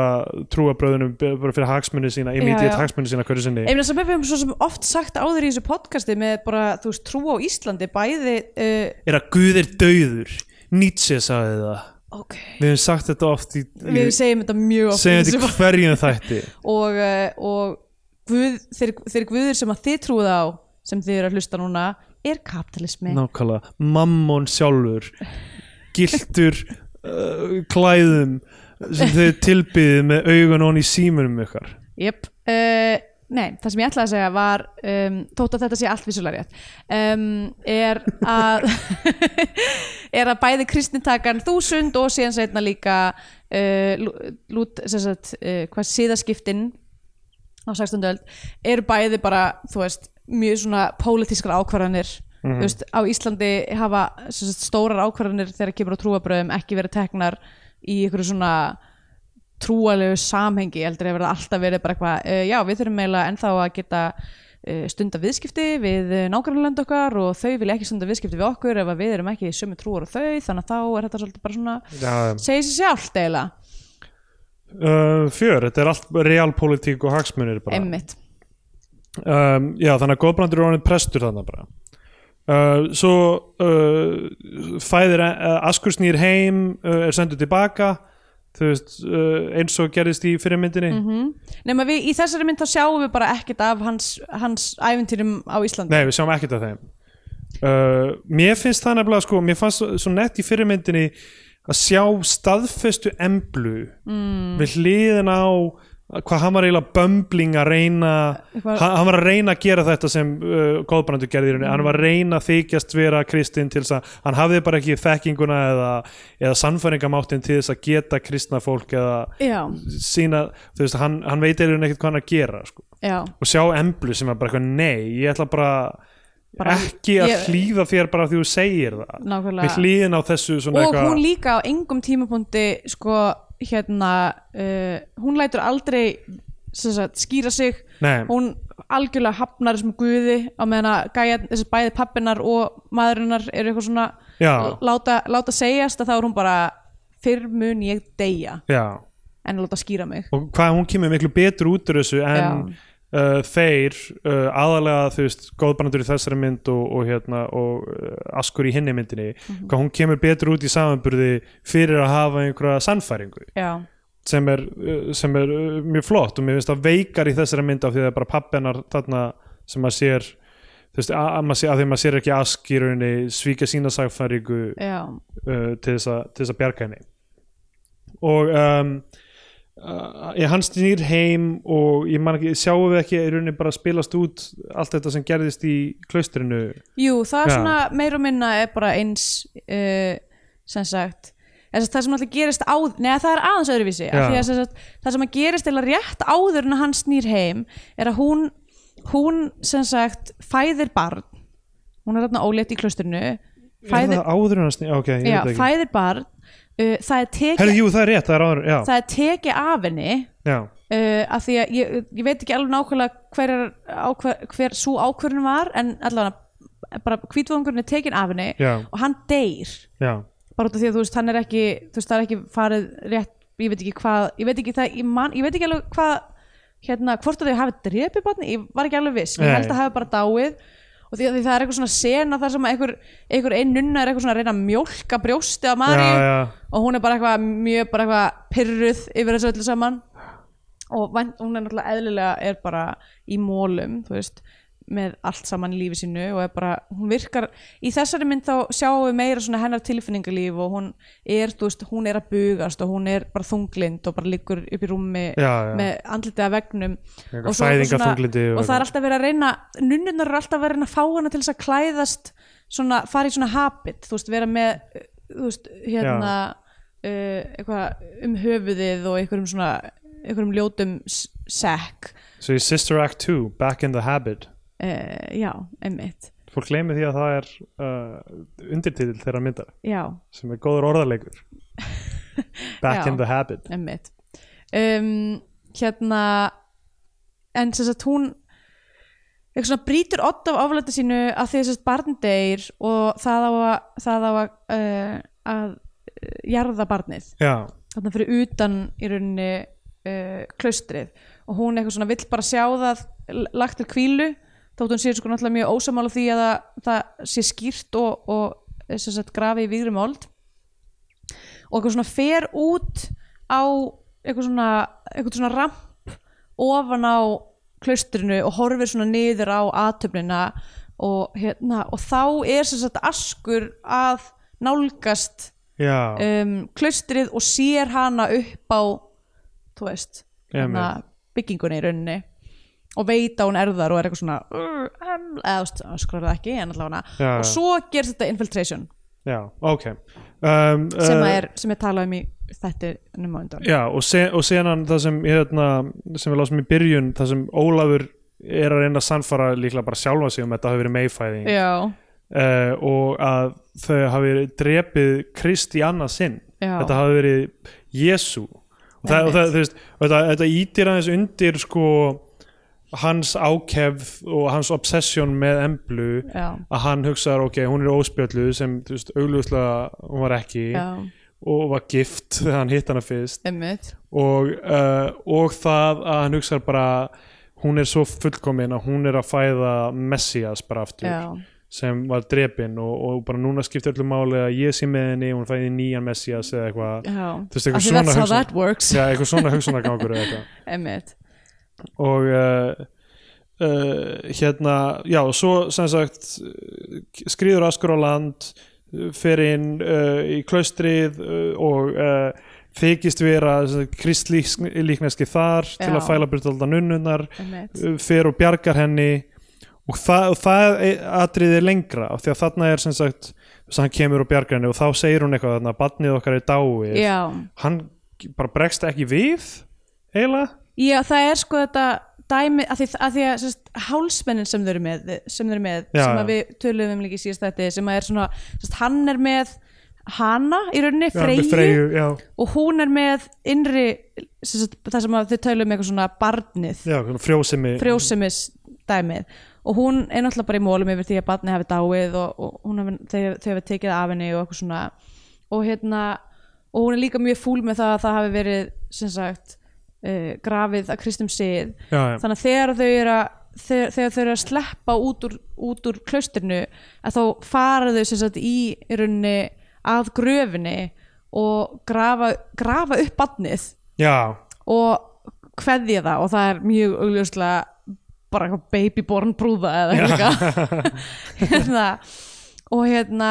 [SPEAKER 2] trúabröðunum b- bara fyrir hagsmunni sína, immediate
[SPEAKER 3] já.
[SPEAKER 2] hagsmunni sína hverju sinni
[SPEAKER 3] Einnig sem við höfum svo sem oft sagt áður í þessu podcasti með bara, þú veist, trú á Íslandi bæði, uh,
[SPEAKER 2] er að Guð er dauður Nietzsche sagði það
[SPEAKER 3] ok
[SPEAKER 2] við hefum sagt þetta oft í, í
[SPEAKER 3] við segjum þetta mjög oft í
[SPEAKER 2] segjum
[SPEAKER 3] þessu
[SPEAKER 2] þetta í hverjum þætti
[SPEAKER 3] og, eh, og guð, þeir, þeir guðir sem að þið trúið á sem þið eru að hlusta núna er kapitalismi
[SPEAKER 2] nákvæmlega, mammon sjálfur giltur uh, klæðum sem þau tilbyðu með augun hon í símunum ykkar
[SPEAKER 3] yep. uh, Nei, það sem ég ætlaði að segja var um, þótt að þetta sé allt vissulega rétt um, er að er að bæði kristnintakan þúsund og síðan setna líka uh, lú- lút, sem sagt, uh, hvað síðaskiptin á 16. öld eru bæði bara, þú veist, mjög svona pólitískar ákvarðanir þú veist, á Íslandi hafa sem sagt, stórar ákvarðanir þegar kemur á trúabröðum ekki verið teknar í einhverju svona trúalegu samhengi heldur hefur það alltaf verið bara eitthvað uh, já, við þurfum eiginlega ennþá að geta uh, stunda viðskipti við nágrannlönd okkar og þau vilja ekki stunda viðskipti við okkur ef að við erum ekki sömu trúar og þau þannig að þá er þetta svolítið bara svona
[SPEAKER 2] ja.
[SPEAKER 3] segir sér sjálft eiginlega,
[SPEAKER 2] uh, fjör, þetta er allt realpolitík og hagsmunir bara
[SPEAKER 3] emmitt
[SPEAKER 2] um, já, þannig að Góðbrandur er orðin prestur þannig bara uh, svo uh, fæðir uh, Askur snýr heim uh, er sendur tilbaka þú veist, uh, eins og gerðist í fyrirmyndinni
[SPEAKER 3] nema við í þessari mynd þá sjáum við bara ekkert af hans, hans æventýrum á Íslandi
[SPEAKER 2] Nei, við sjáum ekkert af þeim uh, Mér finnst það nefnilega sko, mér fannst svo- svo nett í fyrirmyndinni að sjá staðfestu emblu mm. við hliðin á hvað hann var eiginlega bömbling að reyna
[SPEAKER 3] Eitthvað-
[SPEAKER 2] hann, hann var að reyna að gera þetta sem uh, góðbrandur gerði í rauninni, hann var að reyna að þykjast vera kristinn til þess að hann hafði bara ekki þekkinguna eða, eða sannfæringamáttin til þess að geta kristna fólk eða
[SPEAKER 3] já,
[SPEAKER 2] sína, þú veist, hann, hann veit eiginlega ekkert hvað hann er að gera sko
[SPEAKER 3] já,
[SPEAKER 2] og sjá emblu sem er bara eitthvað nei, ég ætla bara,
[SPEAKER 3] Bara-
[SPEAKER 2] ekki að
[SPEAKER 3] ég-
[SPEAKER 2] hlýða þér bara af því þú segir það
[SPEAKER 3] nákvæmlega
[SPEAKER 2] við hlýðin á þessu svona
[SPEAKER 3] og
[SPEAKER 2] eitthvað
[SPEAKER 3] hún líka á engum tímapunkti sko hérna uh, hún lætur aldrei sem sagt, skýra sig
[SPEAKER 2] Nei.
[SPEAKER 3] hún algjörlega hafnar þessum guði á meðan að gæja þessi bæði pappinar og maðurinnar eru eitthvað svona
[SPEAKER 2] Já.
[SPEAKER 3] láta, láta segjast að þá er hún bara fyrr mun ég deyja
[SPEAKER 2] já,
[SPEAKER 3] en að láta skýra mig
[SPEAKER 2] og hvað hún kemur miklu betur út úr þessu en uh, þeir uh, aðalega þú veist, góðbrandur í þessari mynd og, og, hérna, og uh, askur í hinni myndinni
[SPEAKER 3] Mhm.
[SPEAKER 2] hvað hún kemur betur út í samanburði fyrir að hafa einhverja sannfæringu
[SPEAKER 3] já,
[SPEAKER 2] sem er, uh, sem er uh, mjög flott og mér finnst það veikar í þessari mynd af því það er bara pappennar þarna sem maður sér þú veist, að, að maður sér, af því maður sér ekki ask í rauninni svíka sína sagfæringu uh,
[SPEAKER 3] já,
[SPEAKER 2] til, þess að, til þess að bjarga henni og um, uh, ég, hann snýr heim og ég man ekki, sjáum við ekki í rauninni bara spilast út allt þetta sem gerðist í klaustrinu
[SPEAKER 3] Jú, það er
[SPEAKER 2] Já.
[SPEAKER 3] svona meir og minna er bara eins uh, sem sagt Þess, það sem alltaf gerist áður, neða það er aðeins öðruvísi af
[SPEAKER 2] Já.
[SPEAKER 3] því að sem sagt, það sem að gerist eða rétt áður en að hann snýr heim er að hún, hún sem sagt fæðir barn hún er þarna ólétt í klaustrinu
[SPEAKER 2] er
[SPEAKER 3] fæðir,
[SPEAKER 2] það áður en hann snýr, ok, ég
[SPEAKER 3] já,
[SPEAKER 2] veit ekki
[SPEAKER 3] fæðir barn uh, það er tekið
[SPEAKER 2] herri, jú, það er rétt, það er áður, já,
[SPEAKER 3] það er tekið af henni
[SPEAKER 2] já,
[SPEAKER 3] uh, að því að ég, ég veit ekki alveg nákvæmlega hver, er, ákver, hver svo ákvörðun var en allavega bara hvítvangurinn er tekin af henni
[SPEAKER 2] Já.
[SPEAKER 3] og hann deyr
[SPEAKER 2] já
[SPEAKER 3] bara út af því að þú veist hann er ekki þú veist það er ekki farið rétt ég veit ekki hvað, ég veit ekki það ég, man, ég veit ekki alveg hvað hérna, hvort að þau hafi drepið barni, ég var ekki alveg viss ég
[SPEAKER 2] Nei.
[SPEAKER 3] held að hafi bara dáið og því, því það er eitthvað svona sena þar sem að einhver, einhver einn nunna er eitthvað svona að reyna að mjólka brjósti á Maríu
[SPEAKER 2] Já, já.
[SPEAKER 3] og hún er bara eitthvað mjög bara eitthvað pyrruð yfir þessu öllu saman og væn- hún er náttúrulega eðlilega er bara í mólum þú veist með allt saman í lífi sínu og er bara, hún virkar í þessari mynd þá sjáum við meira svona hennar tilfinningalíf og hún er, þú veist, hún er að bugast og hún er bara þunglind og bara liggur upp í rúmi
[SPEAKER 2] Já, já.
[SPEAKER 3] með andlitið að vegnum
[SPEAKER 2] Eitthvað
[SPEAKER 3] svo-
[SPEAKER 2] fæðingarþunglyndi og
[SPEAKER 3] og, það
[SPEAKER 2] eitthvað.
[SPEAKER 3] er alltaf verið að reyna nunnunar eru alltaf að reyna að fá hana til þess að klæðast svona, fara í svona habit þú veist, vera með uh, þú veist, hérna uh, eitthvað um höfuðið og einhverjum svona einhverjum ljótum s- sekk
[SPEAKER 2] So í Sister Act 2, Back in the Habit
[SPEAKER 3] uh, já, einmitt
[SPEAKER 2] fólk gleymið því að það er uh, undirtitil þeirra myndar
[SPEAKER 3] já,
[SPEAKER 2] sem er góður orðarleikur Back
[SPEAKER 3] Já.
[SPEAKER 2] in the Habit
[SPEAKER 3] emmitt um, hérna en sem sagt hún eitthvað svona brýtur odd af oflæti sínu að því þess að barn deyr og það á að, það á að, uh, að uh, jarða barnið
[SPEAKER 2] Já,
[SPEAKER 3] þarna fyrir utan í rauninni uh, klaustrið og hún eitthvað svona vill bara sjá það l- lagt til kvílu þótt hún sé sko náttúrulega mjög ósamála því að það, það sé skýrt og, og eh, sem sagt, grafi í vígri mold og eitthvað svona fer út á eitthvað svona, eitthvað svona ramp ofan á klaustrinu og horfir svona niður á aðtöfnina og, hérna, og þá er sem sagt askur að nálgast
[SPEAKER 2] já,
[SPEAKER 3] um, klaustrið og sér hana upp á þú veist hana, byggingunni í rauninni og veit að hún er þar og er eitthvað svona "Ur, em", eða þú veist, hann skrar það ekki en allavega
[SPEAKER 2] Já,
[SPEAKER 3] og
[SPEAKER 2] já.
[SPEAKER 3] svo gerst þetta infiltration
[SPEAKER 2] já, ok um,
[SPEAKER 3] sem,
[SPEAKER 2] uh,
[SPEAKER 3] uh, er, sem ég talaði um í þetta á undan
[SPEAKER 2] Já, og, se og senan það sem hérna, sem við lásum í byrjun það sem Ólafur er að reyna að sannfara líklega bara sjálfa sig um að þetta hafi verið meifæðing
[SPEAKER 3] já,
[SPEAKER 2] uh, og að þau hafi drepið Kristi annað sinn
[SPEAKER 3] Já.
[SPEAKER 2] þetta hafi verið Jésu og, það, og, það, þú veist, og þetta, þetta ítir aðeins undir sko hans ákefð og hans obsession með emblu
[SPEAKER 3] já,
[SPEAKER 2] að hann hugsaðar ok, hún er óspjöllu sem þú veist, augljóslega hún var ekki
[SPEAKER 3] já,
[SPEAKER 2] og var gift þegar hann hitt hana fyrst
[SPEAKER 3] einmitt
[SPEAKER 2] og, uh, og það að hann hugsaðar bara hún er svo fullkomin að hún er að fæða Messias bara aftur
[SPEAKER 3] já,
[SPEAKER 2] sem var drepinn og, og bara núna skiptir öllu máli að ég sé með henni og hún fæði nýjan messias eða eitthvað
[SPEAKER 3] já
[SPEAKER 2] Þú veist, eitthvað
[SPEAKER 3] Af því
[SPEAKER 2] svona
[SPEAKER 3] that's how
[SPEAKER 2] hugsun.
[SPEAKER 3] that works
[SPEAKER 2] Já, eitthvað svona hugsunargangur eða eitthvað
[SPEAKER 3] einmitt,
[SPEAKER 2] og uh, uh, hérna, já, og svo sem sagt uh, skrýður askur á land uh, fer inn uh, í klaustrið uh, og uh, þykist vera kristlíkneski þar til
[SPEAKER 3] Já.
[SPEAKER 2] að fæla burt alltaf nunnunar
[SPEAKER 3] einmitt
[SPEAKER 2] fer og bjargar henni og það, og það atriði lengra af því að þarna er sem sagt þess að hann kemur og bjargar henni og þá segir hún eitthvað þarna barnið okkar er dáið
[SPEAKER 3] já,
[SPEAKER 2] hann bara bregst ekki við eiginlega
[SPEAKER 3] já, það er sko þetta dæmi, að því að, því að sérst, hálsmennin sem þau eru með, sem, þau eru með,
[SPEAKER 2] Já,
[SPEAKER 3] sem
[SPEAKER 2] já.
[SPEAKER 3] að við töluðum um líka í síðast þetta sem að er svona, sérst, hann er með hana í rauninni,
[SPEAKER 2] Já, með
[SPEAKER 3] Freyju,
[SPEAKER 2] Freyju, já,
[SPEAKER 3] og hún er með innri sérst, það sem að þau töluðum um eitthvað svona barnið,
[SPEAKER 2] já, svona frjósemi
[SPEAKER 3] frjósemis dæmið og hún er náttúrulega bara í mólum yfir því að barnið hafi dáið og, og hún hafi, þau, þau hafi tekið af henni og eitthvað svona og hérna og hún er líka mjög fúl með það að það hafi verið sem sagt uh, grafið að kristum sið
[SPEAKER 2] já, já.
[SPEAKER 3] þannig að þegar þau eru að þegar, þegar þau eru að sleppa út úr, út úr klausturnu að þá fara þau sem sagt í í rauninni að gröfinni og grafa, grafa upp barnið
[SPEAKER 2] já,
[SPEAKER 3] og kveðja það og það er mjög augljóslega bara eitthvað babyborn brúða eða eitthvað hérna, og hérna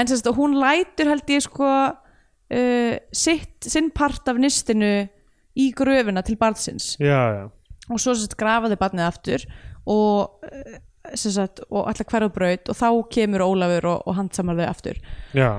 [SPEAKER 3] en sérst og hún lætur held ég sko uh, sitt, sinn part af nistinu í gröfina til barnsins
[SPEAKER 2] já, já
[SPEAKER 3] og svo sérst grafaði barnið aftur og eh, sem sagt, og allar hverju braut og þá kemur Ólafur og, og handsamar þau aftur
[SPEAKER 2] já,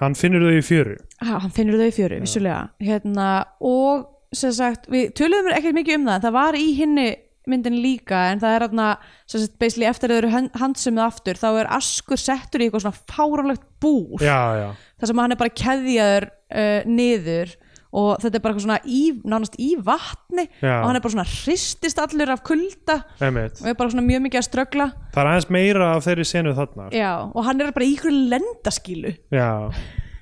[SPEAKER 2] hann finnur þau í fjöru
[SPEAKER 3] ha, hann finnur þau í fjöru, vissulega hérna, og sem sagt við töluðum ekkert mikið um það, en það var í hinni myndin líka, en það er þarna sem sagt, basically eftir að þau eru hönd- handsömuð aftur þá er Askur settur í eitthvað svona fáránlegt búr,
[SPEAKER 2] já, já,
[SPEAKER 3] þar sem hann er bara keðjaður uh, niður og þetta er bara eitthvað svona í, nánast í vatni
[SPEAKER 2] Já.
[SPEAKER 3] og hann er bara svona hristist allur af kulda
[SPEAKER 2] einmitt
[SPEAKER 3] og er bara svona mjög mikið að ströggla
[SPEAKER 2] það er aðeins meira af þeirri senu þarna
[SPEAKER 3] já, og hann er bara í ykkur lendaskílu
[SPEAKER 2] já,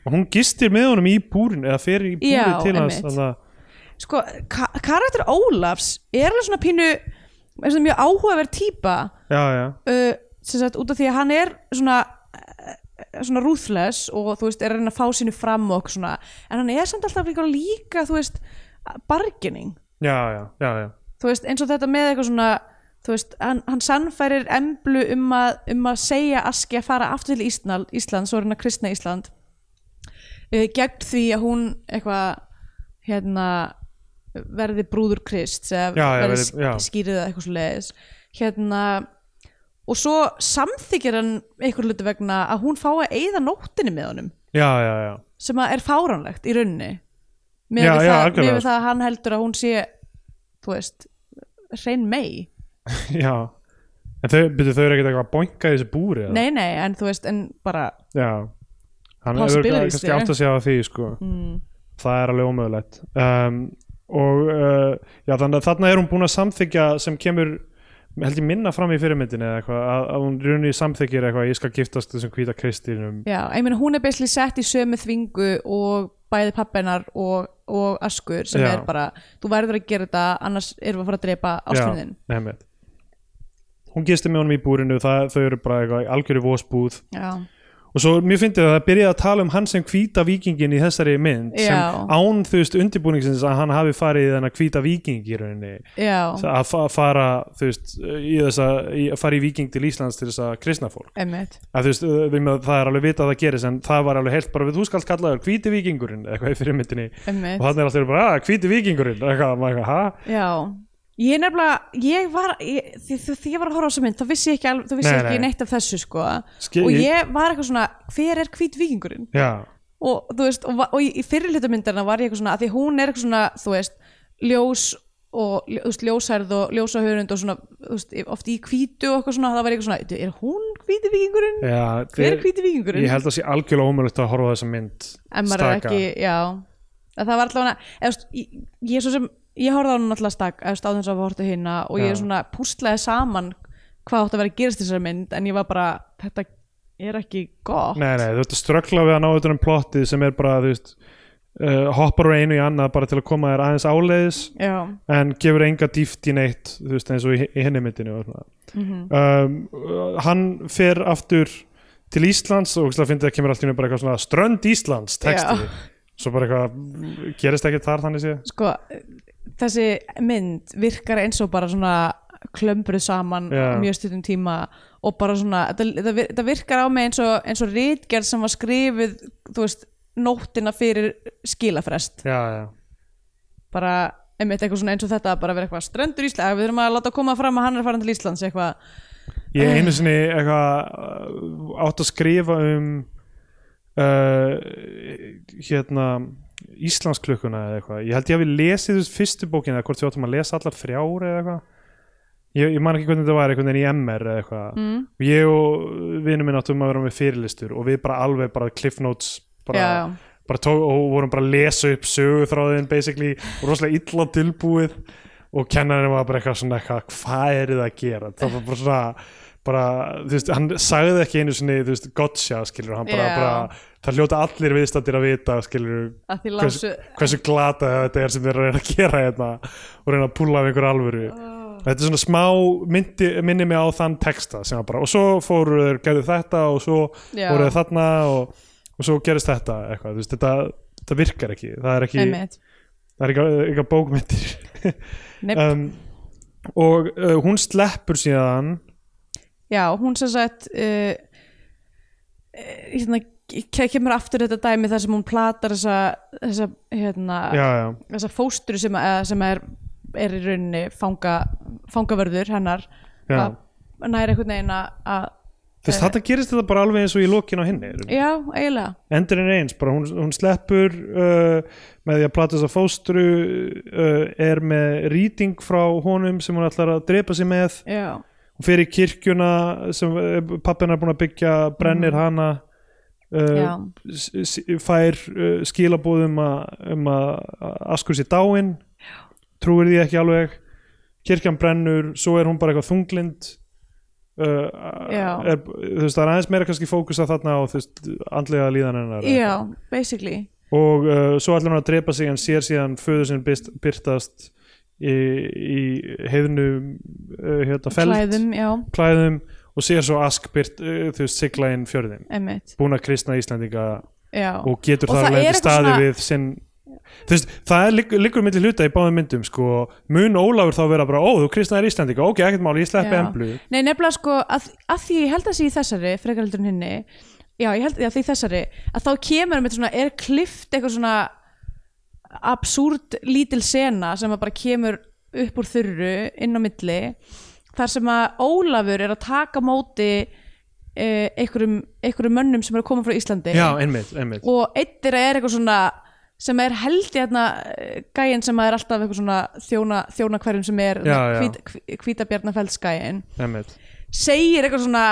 [SPEAKER 2] og hún gistir með honum í búrin eða fer í búri
[SPEAKER 3] Já,
[SPEAKER 2] til hans
[SPEAKER 3] einmitt.
[SPEAKER 2] þannig að
[SPEAKER 3] sko, ka karakter Ólafs er alveg svona pínu er svona mjög áhugaverð típa
[SPEAKER 2] já, já,
[SPEAKER 3] uh, sem sagt út af því að hann er svona eh, svona ruthless og þú veist er að reyna að fá sínu fram og okkur svona en hann er samt alltaf líka, líka þú veist bargaining
[SPEAKER 2] já, já, já, já.
[SPEAKER 3] þú veist eins og þetta með eitthvað svona þú veist, hann, hann sannfærir emblu um að, um að segja Aski að fara aftur til Ísland, Ísland svo er hann að kristna Ísland uh, gegn því að hún eitthvað hérna verði brúður krist eða
[SPEAKER 2] Já, já,
[SPEAKER 3] verði
[SPEAKER 2] verði- já.
[SPEAKER 3] skýrið eða eitthvað svo leiðis hérna og svo samþykir hann einhver hluti vegna að hún fái að eyða nóttinni með honum
[SPEAKER 2] já, já, já,
[SPEAKER 3] sem að er fáránlegt í rauninni
[SPEAKER 2] Já,
[SPEAKER 3] með
[SPEAKER 2] já,
[SPEAKER 3] það,
[SPEAKER 2] algjörlega.
[SPEAKER 3] miðað við það að hann heldur að hún sé þú veist, hrein mei
[SPEAKER 2] já. en þau, byrju, þau eru ekkert eitthvað að boinka í þessu búri eða?
[SPEAKER 3] nei, nei, en þú veist, en bara
[SPEAKER 2] já, hann hefur
[SPEAKER 3] Possibilities
[SPEAKER 2] kannski
[SPEAKER 3] there.
[SPEAKER 2] átt að sjá því sko.
[SPEAKER 3] mm,
[SPEAKER 2] það er alveg ómögulegt um, og uh, já, þannig að þarna er hún búin að samþykja sem kemur held ég minna fram í fyrirmyndinni eða eitthvað að, að hún runni samþykir eitthvað ég skal giftast þessum hvíta kristinum
[SPEAKER 3] já, ég meina hún er basically sett í sömu þvingu og bæði pappennar og, og askur sem
[SPEAKER 2] Já.
[SPEAKER 3] er bara, þú verður að gera þetta annars erum við að fara að drepa ástfriðin
[SPEAKER 2] Já, einmitt. hún gisti með honum í búrinu það, þau eru bara eitthvað í algjöru vósbúð
[SPEAKER 3] já,
[SPEAKER 2] og svo mér fyndið að það byrjaði að tala um hann sem hvíta vikingin í þessari mynd
[SPEAKER 3] Já.
[SPEAKER 2] sem án þú veist undirbúningsins að hann hafi farið í þennan hvíta viking í rauninni
[SPEAKER 3] já,
[SPEAKER 2] að fa fara þú veist í þessa, í, að fara í viking til Íslands til þess að kristna fólk
[SPEAKER 3] emmitt
[SPEAKER 2] að, þú veist, við með, það er alveg vita að það gerist en það var alveg heilt bara við þú skalt kalla þér hvíti vikingurinn eða eitthvað í fyrirmyndinni
[SPEAKER 3] Einmitt.
[SPEAKER 2] og hann er alltaf bara að hvíti vikingurinn eitthvað, maður eitthvað, ha?
[SPEAKER 3] Já, ég nefnilega ég var, ég, því, því, því ég var að horfa á þessu mynd þá vissi ég ekki, alveg, þá vissi
[SPEAKER 2] Nei,
[SPEAKER 3] ég ekki
[SPEAKER 2] nei.
[SPEAKER 3] neitt af þessu sko
[SPEAKER 2] Skil-
[SPEAKER 3] og ég var eitthvað svona, hver er hvít vikingurinn
[SPEAKER 2] já,
[SPEAKER 3] og þú veist, og, va- og í, í fyrri hluta myndarna var ég eitthvað svona, að því hún er eitthvað svona þú veist, ljós og ljó- þú veist, ljósærð og ljósahörund og svona, þú veist, oft í hvítu og eitthvað svona, það var ég eitthvað svona, er hún hvíti vikingurinn?
[SPEAKER 2] já
[SPEAKER 3] hver
[SPEAKER 2] þið-
[SPEAKER 3] er hvíti
[SPEAKER 2] ég
[SPEAKER 3] vikingurinn?
[SPEAKER 2] held að sé algjörlega ómögulegt að horfa á þessa mynd
[SPEAKER 3] en maður er
[SPEAKER 2] staka.
[SPEAKER 3] ekki, já en það var allavega, eða, þú veist, ég, ég er svo sem ég horfði á hún alltaf stakk, eða stáðum þess að horta hérna og ég
[SPEAKER 2] Já.
[SPEAKER 3] er svona púslaði saman hvað átt að vera að gerast í þessari mynd en ég var bara, þetta er ekki gott
[SPEAKER 2] Nei, nei, þú ert að ströggla við að ná auðvitað um plottið sem er bara, þú veist uh, hoppar úr einu í annað bara til að koma þér aðeins áleiðis
[SPEAKER 3] já,
[SPEAKER 2] en gefur enga dýft í neitt þú veist, eins og í, í henni myndinu og svona.
[SPEAKER 3] Mhm.
[SPEAKER 2] um, hann fer aftur til Íslands og það finnir að kemur allt í henni bara eitthvað svona strönd Íslands texti
[SPEAKER 3] Já.
[SPEAKER 2] svo bara eitthvað, gerist ekki þar þannig sé
[SPEAKER 3] sko þessi mynd virkar eins og bara svona klömbruð saman
[SPEAKER 2] Já.
[SPEAKER 3] á mjög stundum tíma og bara svona, þetta, þetta vir- þetta virkar á mig eins og, eins og rítgerð sem var skrifuð þú veist, nóttina fyrir skilafrest
[SPEAKER 2] Já, já,
[SPEAKER 3] bara einmitt eitthvað svona eins og þetta að bara vera eitthvað strendur Ísland, við þurfum að láta koma fram að hann er farin til Íslands eitthvað,
[SPEAKER 2] ég einu sinni eitthvað uh, átt að skrifa um uh, hérna Íslandsklukkuna eða eitthvað ég held ég hafi lesið þessu fyrstu bókina eða hvort við áttum að lesa allar þrjár eða eitthvað ég, ég man ekki hvernig þetta var einhvern veginn í MR eða eitthvað
[SPEAKER 3] Mm.
[SPEAKER 2] og ég og vinur minn áttum að vera með fyrirlistur og við bara alveg bara cliff notes bara,
[SPEAKER 3] Já, já.
[SPEAKER 2] bara tók, og vorum bara að lesa upp söguþráðin basically og rosalega illa tilbúið og kennarinn var bara eitthvað svona eitthvað, hvað er þið að gera það var bara svona bara, þú veist, hann sagði ekki einu sinni þú veist, gotcha, skilur, hann bara,
[SPEAKER 3] Já.
[SPEAKER 2] bara það hljóta allir viðstættir að vita, skilur
[SPEAKER 3] að því
[SPEAKER 2] hversu,
[SPEAKER 3] lásu
[SPEAKER 2] hversu glata þetta er sem þeir eru að reyna að gera hérna og reyna að púla af einhver alvöru þetta er svona smá, myndi, minni mig á þann texta sem var bara, og svo fóru þeir gerðu þetta og svo
[SPEAKER 3] Já.
[SPEAKER 2] voru þeir þarna og, og svo gerist þetta eitthvað, þú veist, þetta, þetta virkar ekki það er ekki,
[SPEAKER 3] einmitt,
[SPEAKER 2] það er ekki, ekki bókmyndir
[SPEAKER 3] Nei,
[SPEAKER 2] um, og uh, hún sleppur síðan
[SPEAKER 3] já, hún sem sagt uh, uh, hérna, ke- kemur aftur þetta dæmi þar sem hún platar þessa, þessa hérna,
[SPEAKER 2] já, já,
[SPEAKER 3] þessa fóstru sem, að, sem er, er í rauninni fanga, fangavörður hennar
[SPEAKER 2] já.
[SPEAKER 3] að næri einhvern veginn að- að
[SPEAKER 2] Þess,
[SPEAKER 3] Eh.
[SPEAKER 2] þetta gerist þetta bara alveg eins og í lokin á henni í raun.
[SPEAKER 3] já, eiginlega
[SPEAKER 2] endurinn eins, bara hún, hún sleppur uh, með því að plata þess að fóstru uh, er með rýting frá honum sem hún ætlar að drepa sig með
[SPEAKER 3] já,
[SPEAKER 2] hún fer í kirkjuna sem uh, pappin er búin að byggja, brennir hana
[SPEAKER 3] Mhm. já,
[SPEAKER 2] uh, s- s- fær uh, skilabóð um að um að askur sér dáin trúir því ekki alveg kirkjan brennur, svo er hún bara eitthvað þunglind Uh,
[SPEAKER 3] Já.
[SPEAKER 2] er, þú veist, það er aðeins meira kannski fókus að þarna á þú veist, andlega líðan hennar eða
[SPEAKER 3] já, basically
[SPEAKER 2] og uh, svo ætlar hann að drepa sig en sér síðan föður sinn byrt, byrtast í, í heiðnu uh, hérna, feld
[SPEAKER 3] klæðum, já,
[SPEAKER 2] klæðum og sér svo ask byrt, uh, þú veist, sigla inn fjörðin
[SPEAKER 3] einmitt
[SPEAKER 2] búin að kristna Íslandinga
[SPEAKER 3] já,
[SPEAKER 2] og getur þar
[SPEAKER 3] Og það
[SPEAKER 2] alveg
[SPEAKER 3] er eitthvað
[SPEAKER 2] staði
[SPEAKER 3] svona-
[SPEAKER 2] við sinn Þú veist, það er liggur, liggur milli hluta í báðum myndum sko. mun Ólafur þá vera bara ó, þú kristnaðir Íslandika, ok, ekkert mál, ég sleppi
[SPEAKER 3] Já.
[SPEAKER 2] emblu
[SPEAKER 3] Nei, nefnilega sko, að, að því ég held að sé í þessari, frekar heldur en hinni Já, ég held að því í þessari að þá kemur með svona, er klift eitthvað svona absúrt lítil sena sem að bara kemur upp úr þurru inn á milli þar sem að Ólafur er að taka á móti eh, einhverjum, einhverjum mönnum sem eru að koma frá Íslandi
[SPEAKER 2] Já, einmitt, einmitt
[SPEAKER 3] og eitt er að er eitthvað svona sem er held í hérna gæin sem að er alltaf eitthvað svona þjóna, þjóna hverjum sem er
[SPEAKER 2] Já, já.
[SPEAKER 3] hvít, hvít, hvítabjarnafeldsgæin
[SPEAKER 2] Einmitt.
[SPEAKER 3] segir eitthvað svona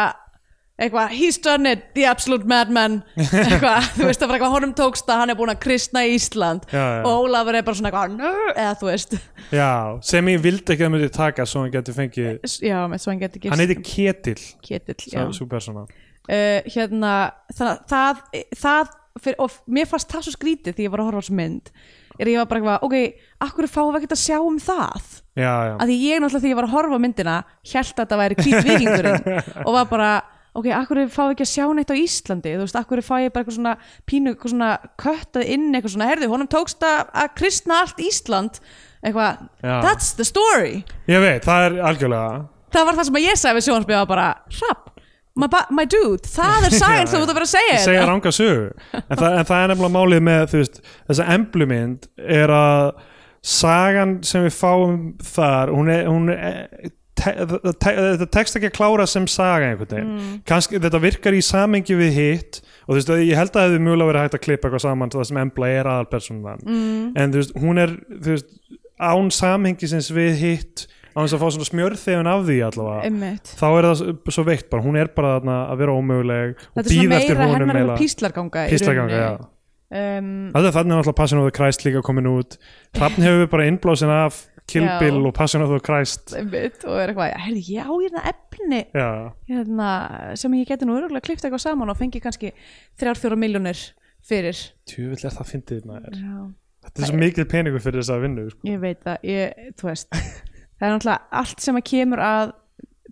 [SPEAKER 3] eitthvað, he's done it, the absolute madman eitthvað, þú veist það var eitthvað honum tókst að hann er búin að kristna Ísland
[SPEAKER 2] Já, já.
[SPEAKER 3] og Ólafur er bara svona eitthvað "Nö," eða þú veist,
[SPEAKER 2] Já, sem ég vildi ekki að myndi taka svo hann geti fengið,
[SPEAKER 3] S- já, með svo hann geti gist
[SPEAKER 2] hann heiti Ketill
[SPEAKER 3] Ketill, já
[SPEAKER 2] sá- sú persóna
[SPEAKER 3] uh, hérna, þannig að það, það fyrir, og mér fannst það svo skrítið því ég var að horfa á þessu mynd er að ég var bara eitthvað, ok, akkur fáum við ekkert að sjá um það
[SPEAKER 2] Já, já,
[SPEAKER 3] að því ég náttúrulega því ég var að horfa á myndina held að þetta væri hvít vikingurinn og var bara, ok, akkur fáum við ekki að sjá neitt á Íslandi, þú veist, akkur fá ég bara eitthvað svona pínu, eitthvað svona köttað inn eitthvað svona, herðu, honum tókst að, að kristna allt Ísland, eitthvað
[SPEAKER 2] Já.
[SPEAKER 3] that's the story,
[SPEAKER 2] ég veit, það er algjörlega
[SPEAKER 3] það var það sem að ég sagði við sjónarspið var bara, hrapp my, ba- my dude, það er sagan sem þú ert að vera að segja
[SPEAKER 2] segja ranga sögu en, það, en það er nefnilega málið með þú veist, þessa emblumynd er að sagan sem við fáum þar hún er, hún er te, te, te, þetta tekst ekki að klára sem saga einhvern veginn,
[SPEAKER 3] Mm.
[SPEAKER 2] kannski þetta virkar í samengi við hitt og þú veist, ég held að það hefði mjögulega verið hægt að klippa eitthvað saman til það sem embla er aðalpersónan mm. en þú veist, hún er þú veist, án samhengisins við hitt án þess að fá svona smjörþefin af því allavega
[SPEAKER 3] Einmitt.
[SPEAKER 2] þá er það s- svo veikt bara, hún er bara þarna að vera ómöguleg og
[SPEAKER 3] þetta er svona
[SPEAKER 2] býða eftir
[SPEAKER 3] meira
[SPEAKER 2] honum
[SPEAKER 3] hennar
[SPEAKER 2] meila
[SPEAKER 3] og píslarganga í
[SPEAKER 2] píslaganga, já
[SPEAKER 3] rauninni. um,
[SPEAKER 2] Það er þannig náttúrulega Passion of the Christ líka komin út Hrafn hefur bara innblásin af Kill
[SPEAKER 3] Já.
[SPEAKER 2] Bill og Passion of the Christ
[SPEAKER 3] einmitt, og er eitthvað, herðu, já, ég er það efni
[SPEAKER 2] Já,
[SPEAKER 3] hérna, sem ég geti nú öruglega klift eitthvað saman og fengi kannski 3-4 miljónir fyrir
[SPEAKER 2] tjúvill er það fyndið maður.
[SPEAKER 3] já.
[SPEAKER 2] Þetta er svo mikil peningur fyrir þess að vinnu sko.
[SPEAKER 3] ég veit það, ég, þú veist það er náttúrulega allt sem að kemur að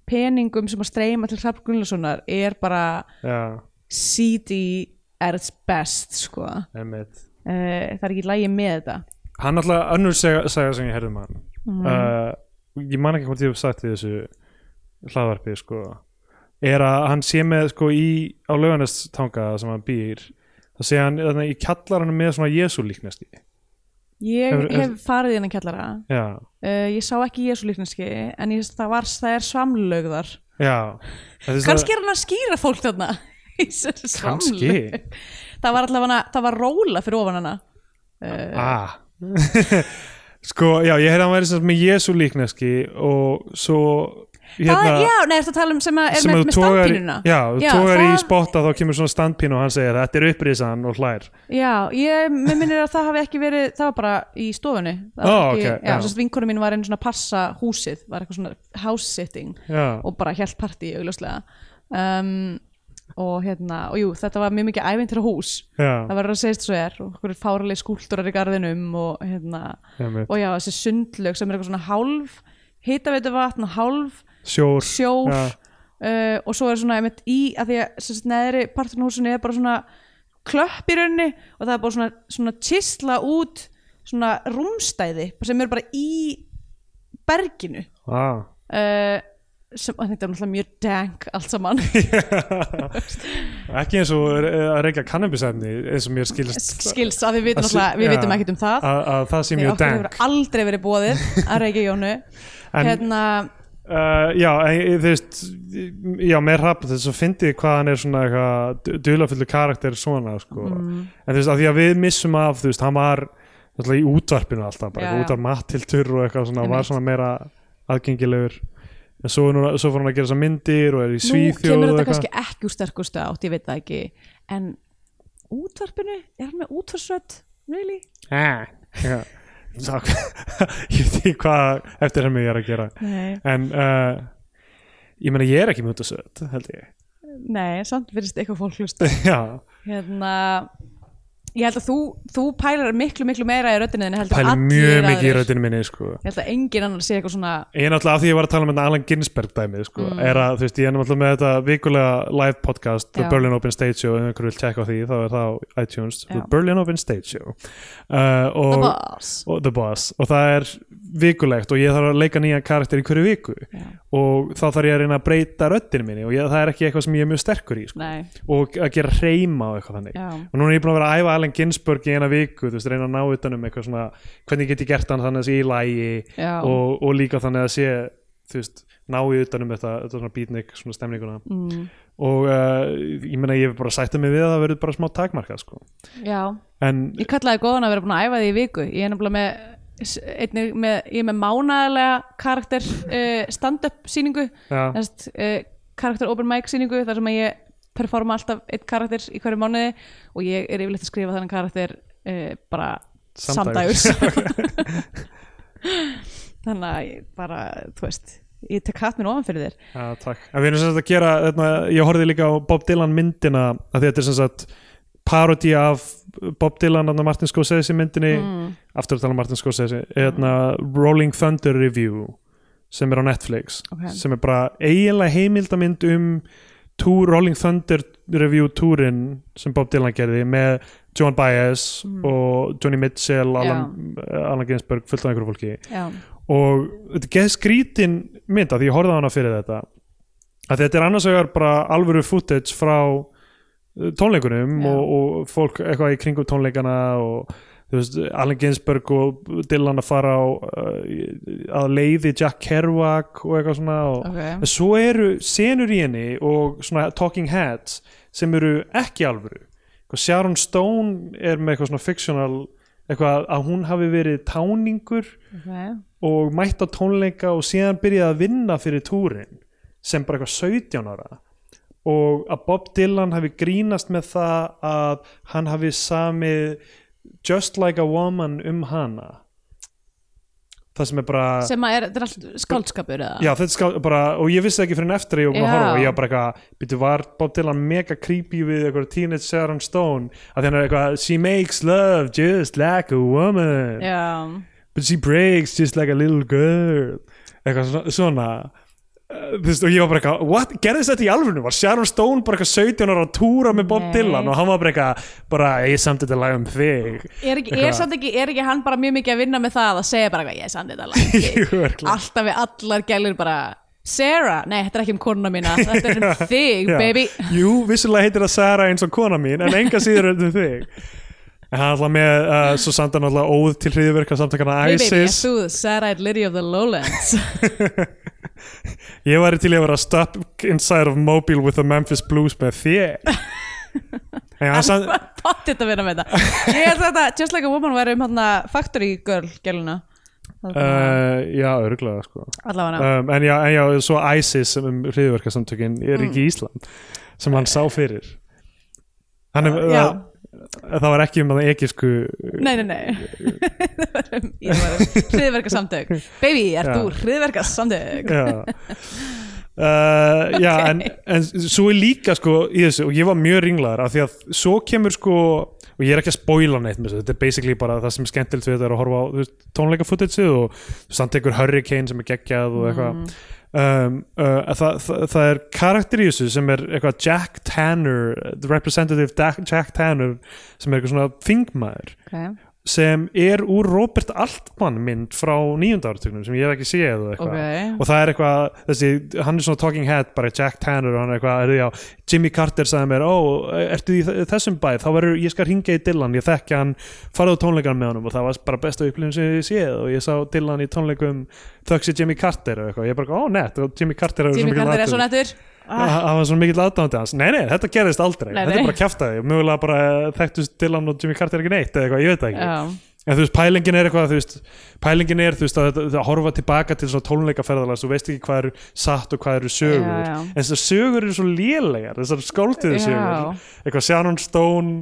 [SPEAKER 3] peningum sem að streyma til Hrafn Gunnlausonar er bara
[SPEAKER 2] Já,
[SPEAKER 3] CD at its best sko. uh,
[SPEAKER 2] einmitt
[SPEAKER 3] það er ekki lægi með þetta
[SPEAKER 2] Hann náttúrulega önnur segja, segja sem ég herði mann
[SPEAKER 3] Mhm.
[SPEAKER 2] mm. uh, Ég man ekki hvort ég hef sagt í þessu hlaðvarpi sko. er að hann sé með sko, í, á laugarnestanga sem hann býr það sé hann þarna í kjallaranum með svona Jésu líknesti
[SPEAKER 3] ég
[SPEAKER 2] Hefur-
[SPEAKER 3] hef farið innan kjallara
[SPEAKER 2] Já,
[SPEAKER 3] Uh, ég sá ekki Jésu líkneski en ég, það, var, það er svamlaug þar
[SPEAKER 2] já Þetta er svona-
[SPEAKER 3] kannski er hann að skýra fólk þarna í þessari
[SPEAKER 2] Kannski.
[SPEAKER 3] svamlaug. það var allavega það var róla fyrir ofan hana
[SPEAKER 2] ah. sko, já, ég heyrði að hann væri sem sagt með Jésu líkneski og svo hérna,
[SPEAKER 3] það, já, nei, ertu að tala um sem að er
[SPEAKER 2] sem
[SPEAKER 3] með,
[SPEAKER 2] að
[SPEAKER 3] með
[SPEAKER 2] þú tógar,
[SPEAKER 3] standpínuna
[SPEAKER 2] já, þú tógar í
[SPEAKER 3] það-
[SPEAKER 2] spotta þá kemur svona standpínu og hann segir þetta er upprisan og hlær
[SPEAKER 3] já, ég, mér minnir að það hafi ekki verið það var bara í stofunni Það var
[SPEAKER 2] Ó,
[SPEAKER 3] ekki,
[SPEAKER 2] ok,
[SPEAKER 3] já,
[SPEAKER 2] já.
[SPEAKER 3] já. Sest, vinkonum mín var einn svona að passa húsið var eitthvað svona house sitting
[SPEAKER 2] já,
[SPEAKER 3] og bara hjælt partí augljóslega um, og hérna, og jú, þetta var mjög mikið ævint hús það
[SPEAKER 2] já,
[SPEAKER 3] verður að segist svo er og hverju fáralegi skúltúrar í garðinum og hérna
[SPEAKER 2] Einmitt.
[SPEAKER 3] og já þessi sundlög sem er eitthvað svona hálf hitaveitu vatn og hálf
[SPEAKER 2] sjór
[SPEAKER 3] sjór
[SPEAKER 2] Já.
[SPEAKER 3] uh, og svo er svona einmitt í að því að sem sagt, neðri parturinn á húsinu er bara svona klöpp í raunni og það er bara svona, svona tísla út svona rúmstæði sem eru bara í berginu
[SPEAKER 2] ah.
[SPEAKER 3] uh, sem og þetta er náttúrulega mjög dank allt saman
[SPEAKER 2] ekki eins og eh, að reykja kannabisefni eins og mér skilst
[SPEAKER 3] skils að við vitum,
[SPEAKER 2] að sé-
[SPEAKER 3] náttúrulega- við
[SPEAKER 2] já.
[SPEAKER 3] vitum ekkert um það
[SPEAKER 2] að, að það sé
[SPEAKER 3] Nei,
[SPEAKER 2] mjög
[SPEAKER 3] okkur
[SPEAKER 2] dank
[SPEAKER 3] hefur aldrei verið bóðið að reykja Jónu
[SPEAKER 2] En-
[SPEAKER 3] hérna,
[SPEAKER 2] Uh, já, en, þú veist já, með rafn, þess að fyndið hvað hann er svona eitthvað duðlafullu karakter svona, sko,
[SPEAKER 3] Mm.
[SPEAKER 2] en þú veist, af því að við missum af, þú veist, hann var alltaf, í útvarpinu alltaf, bara
[SPEAKER 3] Já,
[SPEAKER 2] eitthvað
[SPEAKER 3] já.
[SPEAKER 2] út af mattiltur og eitthvað svona, var
[SPEAKER 3] Einmitt.
[SPEAKER 2] svona meira aðgengilegur en svo, er núna, svo fór hann að gera þessar myndir og er í
[SPEAKER 3] nú kemur
[SPEAKER 2] Svíþjóð og
[SPEAKER 3] þetta kannski ekki úr sterkustu átt, ég veit það ekki en útvarpinu er hann með útvarsrödd, really?
[SPEAKER 2] Já. Sá- ég veit ekki hvað eftir henni ég er að gera
[SPEAKER 3] Nei,
[SPEAKER 2] en uh, ég meina ég er ekki mjög út að söt, held ég
[SPEAKER 3] nei samt verðist eitthvað fólk hlusta
[SPEAKER 2] já,
[SPEAKER 3] hérna, ég held að þú, þú pælar miklu miklu meira í röddinni en heldur
[SPEAKER 2] pæli
[SPEAKER 3] allir
[SPEAKER 2] mjög mikið í
[SPEAKER 3] aðrir.
[SPEAKER 2] röddinu minni sko.
[SPEAKER 3] ég held að engin annar sé eitthvað svona
[SPEAKER 2] Ég er náttúrulega að því ég var að tala með þetta Alan Ginsberg dæmið sko,
[SPEAKER 3] Mm.
[SPEAKER 2] er að þú veist, ég er náttúrulega með þetta vikulega live podcast, The
[SPEAKER 3] Já.
[SPEAKER 2] Berlin Open Stage Show ef einhver vil tjekka á því, þá er það á iTunes The
[SPEAKER 3] Já.
[SPEAKER 2] Berlin Open Stage Show uh, og,
[SPEAKER 3] boss.
[SPEAKER 2] og The Boss og það er vikulegt og ég þarf að leika nýja karakter í hverju viku
[SPEAKER 3] Já.
[SPEAKER 2] og þá þarf ég að reyna að breyta röddinu minni og ég, það er ekki eitthvað sem ég er mjög sterkur í sko,
[SPEAKER 3] nei,
[SPEAKER 2] og að gera reyma og eitthvað þannig
[SPEAKER 3] já,
[SPEAKER 2] og núna er ég búin að vera að æfa Alan Ginsberg í eina viku þú veist, reyna að ná utan um eitthvað svona hvernig get ég gert hann þannig að sé í lægi
[SPEAKER 3] Já.
[SPEAKER 2] og, og líka þannig að sé þú veist, ná í utan um þetta, þetta svona beatnik, svona stemninguna
[SPEAKER 3] mm,
[SPEAKER 2] og uh, ég meina ég hef bara sættið mig við að það verður bara smá takmarka sko.
[SPEAKER 3] já
[SPEAKER 2] en
[SPEAKER 3] ég kallaði góðan að vera búin að æfa því í viku ég er nefnilega með s- einnig með, ég er með mánæðilega karakter uh, stand-up síningu
[SPEAKER 2] Já.
[SPEAKER 3] Þess, uh, karakter open mic síningu þar sem að ég performa alltaf eitt karakter í hverju mánuði og ég er yfirleitt að skrifa þannig karakter uh, bara
[SPEAKER 2] Samdægurs.
[SPEAKER 3] samdægurs þannig að ég bara, þú veist ég tek hatt minn ofan fyrir þér
[SPEAKER 2] Já, takk. En við erum sem sagt að gera, þarna, ég horfði líka á Bob Dylan myndina að þetta er sem sagt parodi af Bob Dylan og Martin Scorsese myndinni, aftur að tala um Martin Scorsese, hérna Rolling Thunder Review sem er á Netflix
[SPEAKER 3] Ok.
[SPEAKER 2] sem er bara eiginlega heimildamind um túr, Rolling Thunder Review túrin sem Bob Dylan gerði með John Baez og Johnny Mitchell, Alan, Alan Ginsberg, fullt af einhverju fólki
[SPEAKER 3] já,
[SPEAKER 2] og þetta geð skrítin mynd að því ég horfði á hana fyrir þetta að þetta er annars vegar bara alvöru footage frá uh, tónleikunum
[SPEAKER 3] Já.
[SPEAKER 2] og, og fólk eitthvað í kringum tónleikana og þú veist, Allen Ginsberg og Dylan að fara á uh, í- að leiði Jack Kerouac og eitthvað svona og
[SPEAKER 3] ok
[SPEAKER 2] en svo eru senur í henni og svona talking heads sem eru ekki alvöru Eitthvað Sharon Stone er með eitthvað svona fictional eitthvað að hún hafi verið táningur
[SPEAKER 3] ok,
[SPEAKER 2] og mætt á tónleika og síðan byrjaði að vinna fyrir túrin sem bara eitthvað 17 ára og að Bob Dylan hafi grínast með það að hann hafi samið Just Like a Woman um hana það sem er bara
[SPEAKER 3] sem að er, þetta er allt skáldskapur eða
[SPEAKER 2] Ah. já, þetta skal bara, og ég vissi ekki fyrir en eftir að ég var búin að
[SPEAKER 3] Já.
[SPEAKER 2] horfa og ég var bara eitthvað, byrju var Bob Dylan mega creepy við eitthvað Teenage Sharon Stone að þannig er eitthvað, she makes love just like a woman
[SPEAKER 3] já,
[SPEAKER 2] but she breaks just like a little girl eitthvað svona, svona. Uh, þú veist, og ég var bara eitthvað, what, gerðist þetta í alvörinu var Sharon Stone bara eitthvað 17 ára að túra með Bob
[SPEAKER 3] Nei.
[SPEAKER 2] Dylan og hann var bara eitthvað bara, ég samt þetta lag um þig
[SPEAKER 3] Er ekki, er,
[SPEAKER 2] Eitthvað.
[SPEAKER 3] samt ekki, er ekki hann bara mjög mikið að vinna með það að segja bara hvað ég er sann þetta langt
[SPEAKER 2] Jú, örugglega.
[SPEAKER 3] alltaf við allar gælur bara Sarah, nei þetta er ekki um konuna mína þetta er um þig
[SPEAKER 2] Já.
[SPEAKER 3] baby
[SPEAKER 2] Jú, vissulega heitir það Sarah eins og kona mín en enga síður er þetta um þig en hann er alltaf með, uh, svo samt hann alltaf óð til hriðverka samtakana
[SPEAKER 3] Hey baby,
[SPEAKER 2] ISIS
[SPEAKER 3] yes, þú, Sarah er Lady of the Lowlands
[SPEAKER 2] Ég væri til í að vera stuck inside of Mobile with the Memphis Blues með þér En hann samt
[SPEAKER 3] Pott þetta vinna með þetta Ég held að þetta, Just Like a Woman væri um hann Factory Girl gæluna
[SPEAKER 2] uh, Já, örgulega sko
[SPEAKER 3] allavega
[SPEAKER 2] um, en, já, en já, svo ISIS sem um hriðverkasamtökin er ekki í Ísland sem hann sá fyrir hann er,
[SPEAKER 3] Já.
[SPEAKER 2] það, það var ekki um að ekisku
[SPEAKER 3] Nei, nei, nei Það var um- Ég var um hriðverka samtök Baby, er
[SPEAKER 2] Já.
[SPEAKER 3] þú hriðverka samtök
[SPEAKER 2] já Uh, já, en, en svo er líka sko í þessu, og ég var mjög ringlaður af því að svo kemur sko og ég er ekki að spoila neitt með þessu, þetta er basically bara það sem er skemmtilegt við þetta er að horfa á þú veist, tónleika footage og samt einhver hurricane sem er geggjað og eitthvað um, uh, að það, það, það er karakter í þessu sem er eitthvað Jack Tanner the representative Da- Jack Tanner sem er eitthvað svona þingmaður
[SPEAKER 3] okay.
[SPEAKER 2] sem er úr Robert Altman mynd frá nýjunda áratugnum sem ég hef ekki séð og eitthvað
[SPEAKER 3] Ok.
[SPEAKER 2] og það er eitthvað, þessi, hann er svona talking head bara Jack Tanner og hann er eitthvað er, já, Jimmy Carter sagði mér, ó, ertu í þ- þessum bæ, þá verður, ég skal ringa í Dylan ég þekki hann, farðu á tónleikan með honum og það var bara besta upplifin sem ég séð og ég sá Dylan í tónleikum þöksi Jimmy Carter og eitthvað, ég er bara, ó, nett og Jimmy Carter hefur svo
[SPEAKER 3] Jimmy
[SPEAKER 2] mikill
[SPEAKER 3] Carter er
[SPEAKER 2] aðdáun-
[SPEAKER 3] svo nettur
[SPEAKER 2] Ah, hann var svona mikill aðdáðandi hans nei, nei, þetta gerðist aldrei,
[SPEAKER 3] Nei,
[SPEAKER 2] þetta
[SPEAKER 3] nei.
[SPEAKER 2] er bara kjaftaði mjögulega bara eh, þekktust Dylan og Jimmy Carter ekki neitt eða eitthvað, ég veit það ekki
[SPEAKER 3] Já
[SPEAKER 2] en þú veist, pælingin er eitthvað þú veist, pælingin er þú veist, að, að, að horfa tilbaka til svona tónleikaferðalega þú veist ekki hvað eru satt og hvað eru sögur
[SPEAKER 3] Já, já.
[SPEAKER 2] en þessar sögur eru svo lélegar þessar skóldiðu
[SPEAKER 3] Já.
[SPEAKER 2] sögur eitthvað Shannon Stone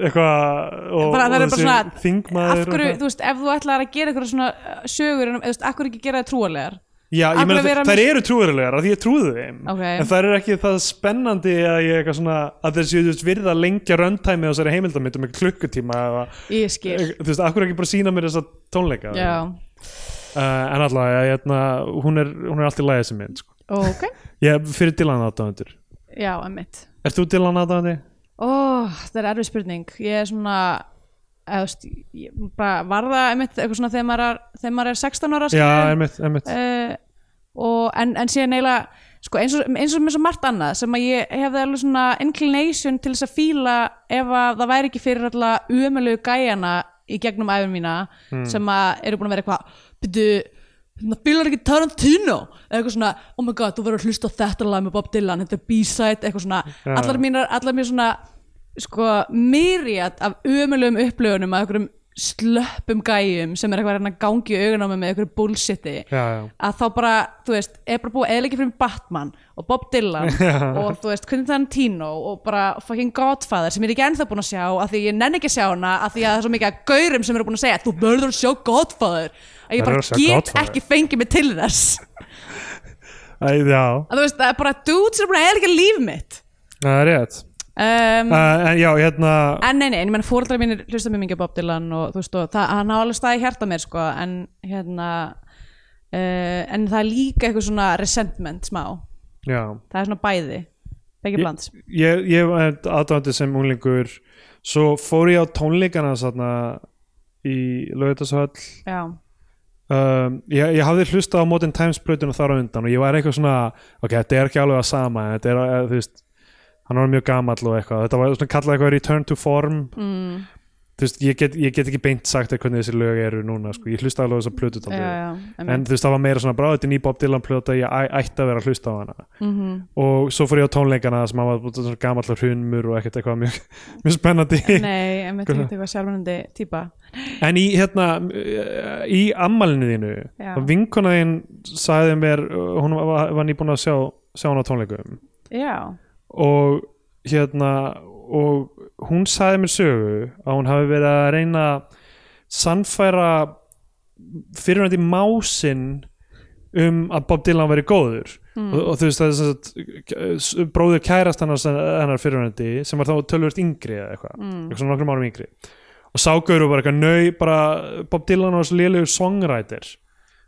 [SPEAKER 2] eitthvað og,
[SPEAKER 3] Bara það eru
[SPEAKER 2] og
[SPEAKER 3] bara svona-
[SPEAKER 2] þingmaður
[SPEAKER 3] af hverju,
[SPEAKER 2] og,
[SPEAKER 3] þú veist, ef þú ætlar að gera eitthvað svona uh, sögur, en- eða þú veist, af hverju ekki gera það trúarlegar
[SPEAKER 2] Já,
[SPEAKER 3] Af
[SPEAKER 2] ég meina
[SPEAKER 3] hverju vera
[SPEAKER 2] þær, þær
[SPEAKER 3] mis-
[SPEAKER 2] eru trúverulegar af því ég trúði þeim
[SPEAKER 3] Ok.
[SPEAKER 2] en þær eru ekki það spennandi að ég eitthvað svona að þeir séu þú veist, virða lengja röntæmi á þessari heimildamitt um eitthvað klukkutíma eða
[SPEAKER 3] ég skil
[SPEAKER 2] þú veist, akkur ekki bara sína mér þessa tónleika
[SPEAKER 3] já,
[SPEAKER 2] uh, en allavega, ég, hérna, hún, er, hún er allt í læði sem mynd sko.
[SPEAKER 3] ok,
[SPEAKER 2] ég fyrir Dylan aðdáðundur
[SPEAKER 3] já, emmitt
[SPEAKER 2] Ert þú Dylan aðdáðandi?
[SPEAKER 3] ó, þetta er erfið spurning ég er svona eða, þú veist, ég, bara var það emmitt eitthvað svona þegar maður er, þegar maður er 16 ára
[SPEAKER 2] Já,
[SPEAKER 3] skilurðu?
[SPEAKER 2] einmitt, einmitt
[SPEAKER 3] uh, og, en, en síðan eiginlega sko, eins, og, eins og með svo margt annað sem að ég hefði alveg svona inclination til þess að fíla ef að það væri ekki fyrir alltaf umölu gæjana í gegnum æfum mína sem að eru búin að vera eitthvað byrju Það fílar ekki Tarantino eða eitthvað svona, oh my god, þú verður að hlusta á þetta lag með Bob Dylan, þetta er B-side eitthvað svona, allar mínar, allar mér svona sko, myriat af umöluðum upplöfunum af einhverjum slöppum gæjum sem er eitthvað að reyna að gangi augun á mig með einhverju bullshiti
[SPEAKER 2] Já, já
[SPEAKER 3] að þá bara, þú veist, er bara búið eðliki fyrir Batman og Bob Dylan og þú veist, Quentin Tarantino og bara fucking Godfather sem ég er ekki ennþá búin að sjá af því ég nenni ekki að sjá hana af því að það er svo mikið að gaurum sem eru búin að segja þú verður að sjá Godfather að
[SPEAKER 2] Verður
[SPEAKER 3] ég bara
[SPEAKER 2] að sjá
[SPEAKER 3] get
[SPEAKER 2] Godfather.
[SPEAKER 3] ekki fengið mig til þess
[SPEAKER 2] Æ, Já,
[SPEAKER 3] að þú veist, það er bara dudes sem er búin að eðlika líf mitt
[SPEAKER 2] það er rétt
[SPEAKER 3] um,
[SPEAKER 2] uh, En já, hérna
[SPEAKER 3] en nei, nei, en ég menn fóreldrar mínir hlusta mjög mikið á Bob Dylan og þú veist, og það, hann á alveg staði hjarta mér sko, en hérna uh, en það er líka eitthvað svona resentment smá,
[SPEAKER 2] Já
[SPEAKER 3] það er svona bæði begge bland,
[SPEAKER 2] ég, ég var aðdáðandi sem unglingur svo fór ég á tónleikana þarna í Laugardalshöll
[SPEAKER 3] já
[SPEAKER 2] um, ég, ég hafði hlustað á Modern Times plötuna þar á undan og ég var eitthvað svona ok, þetta er ekki alveg að sama en þetta er, eh, þú veist, hann var mjög gamall og eitthvað, þetta var svona kallað eitthvað return to form mm. þú veist, ég get, ég get ekki beint sagt þér hvernig þessi lög eru núna, sko, ég hlustaði alveg á þessa plötu
[SPEAKER 3] já,
[SPEAKER 2] dálítið.
[SPEAKER 3] já,
[SPEAKER 2] en
[SPEAKER 3] einmitt.
[SPEAKER 2] þú veist það var meira svona bráð þetta er ný Bob Dylan plöta, ég æ- ætti að vera að hlusta á hana -hmm.
[SPEAKER 3] Mhm.
[SPEAKER 2] og svo fór ég á tónleikana þar sem hann var búinn svona gamallar hrunmur og ekkert eitthvað mjög, mjög spennandi
[SPEAKER 3] nei, en veit ekki eitthvað sjálfnandi típa
[SPEAKER 2] en í hérna eh, í ammalinu þínu
[SPEAKER 3] Já.
[SPEAKER 2] þá vinkona þín sagði mér eh, hún var, var nýbúin að sjá, sjá hann á tónleikum
[SPEAKER 3] já,
[SPEAKER 2] og hérna og hún sagði mér sögu að hún hafi verið að reyna að sannfæra fyrirvændi másinn um að Bob Dylan veri góður og, og þú veist það er þess að bróður kærast hennar, hennar fyrirvændi sem var þá tölvöld yngri eða eitthvað eitthvað svona nokkrum árum yngri og ságauður bara eitthvað nöy bara Bob Dylan og þessu lélegu songwriter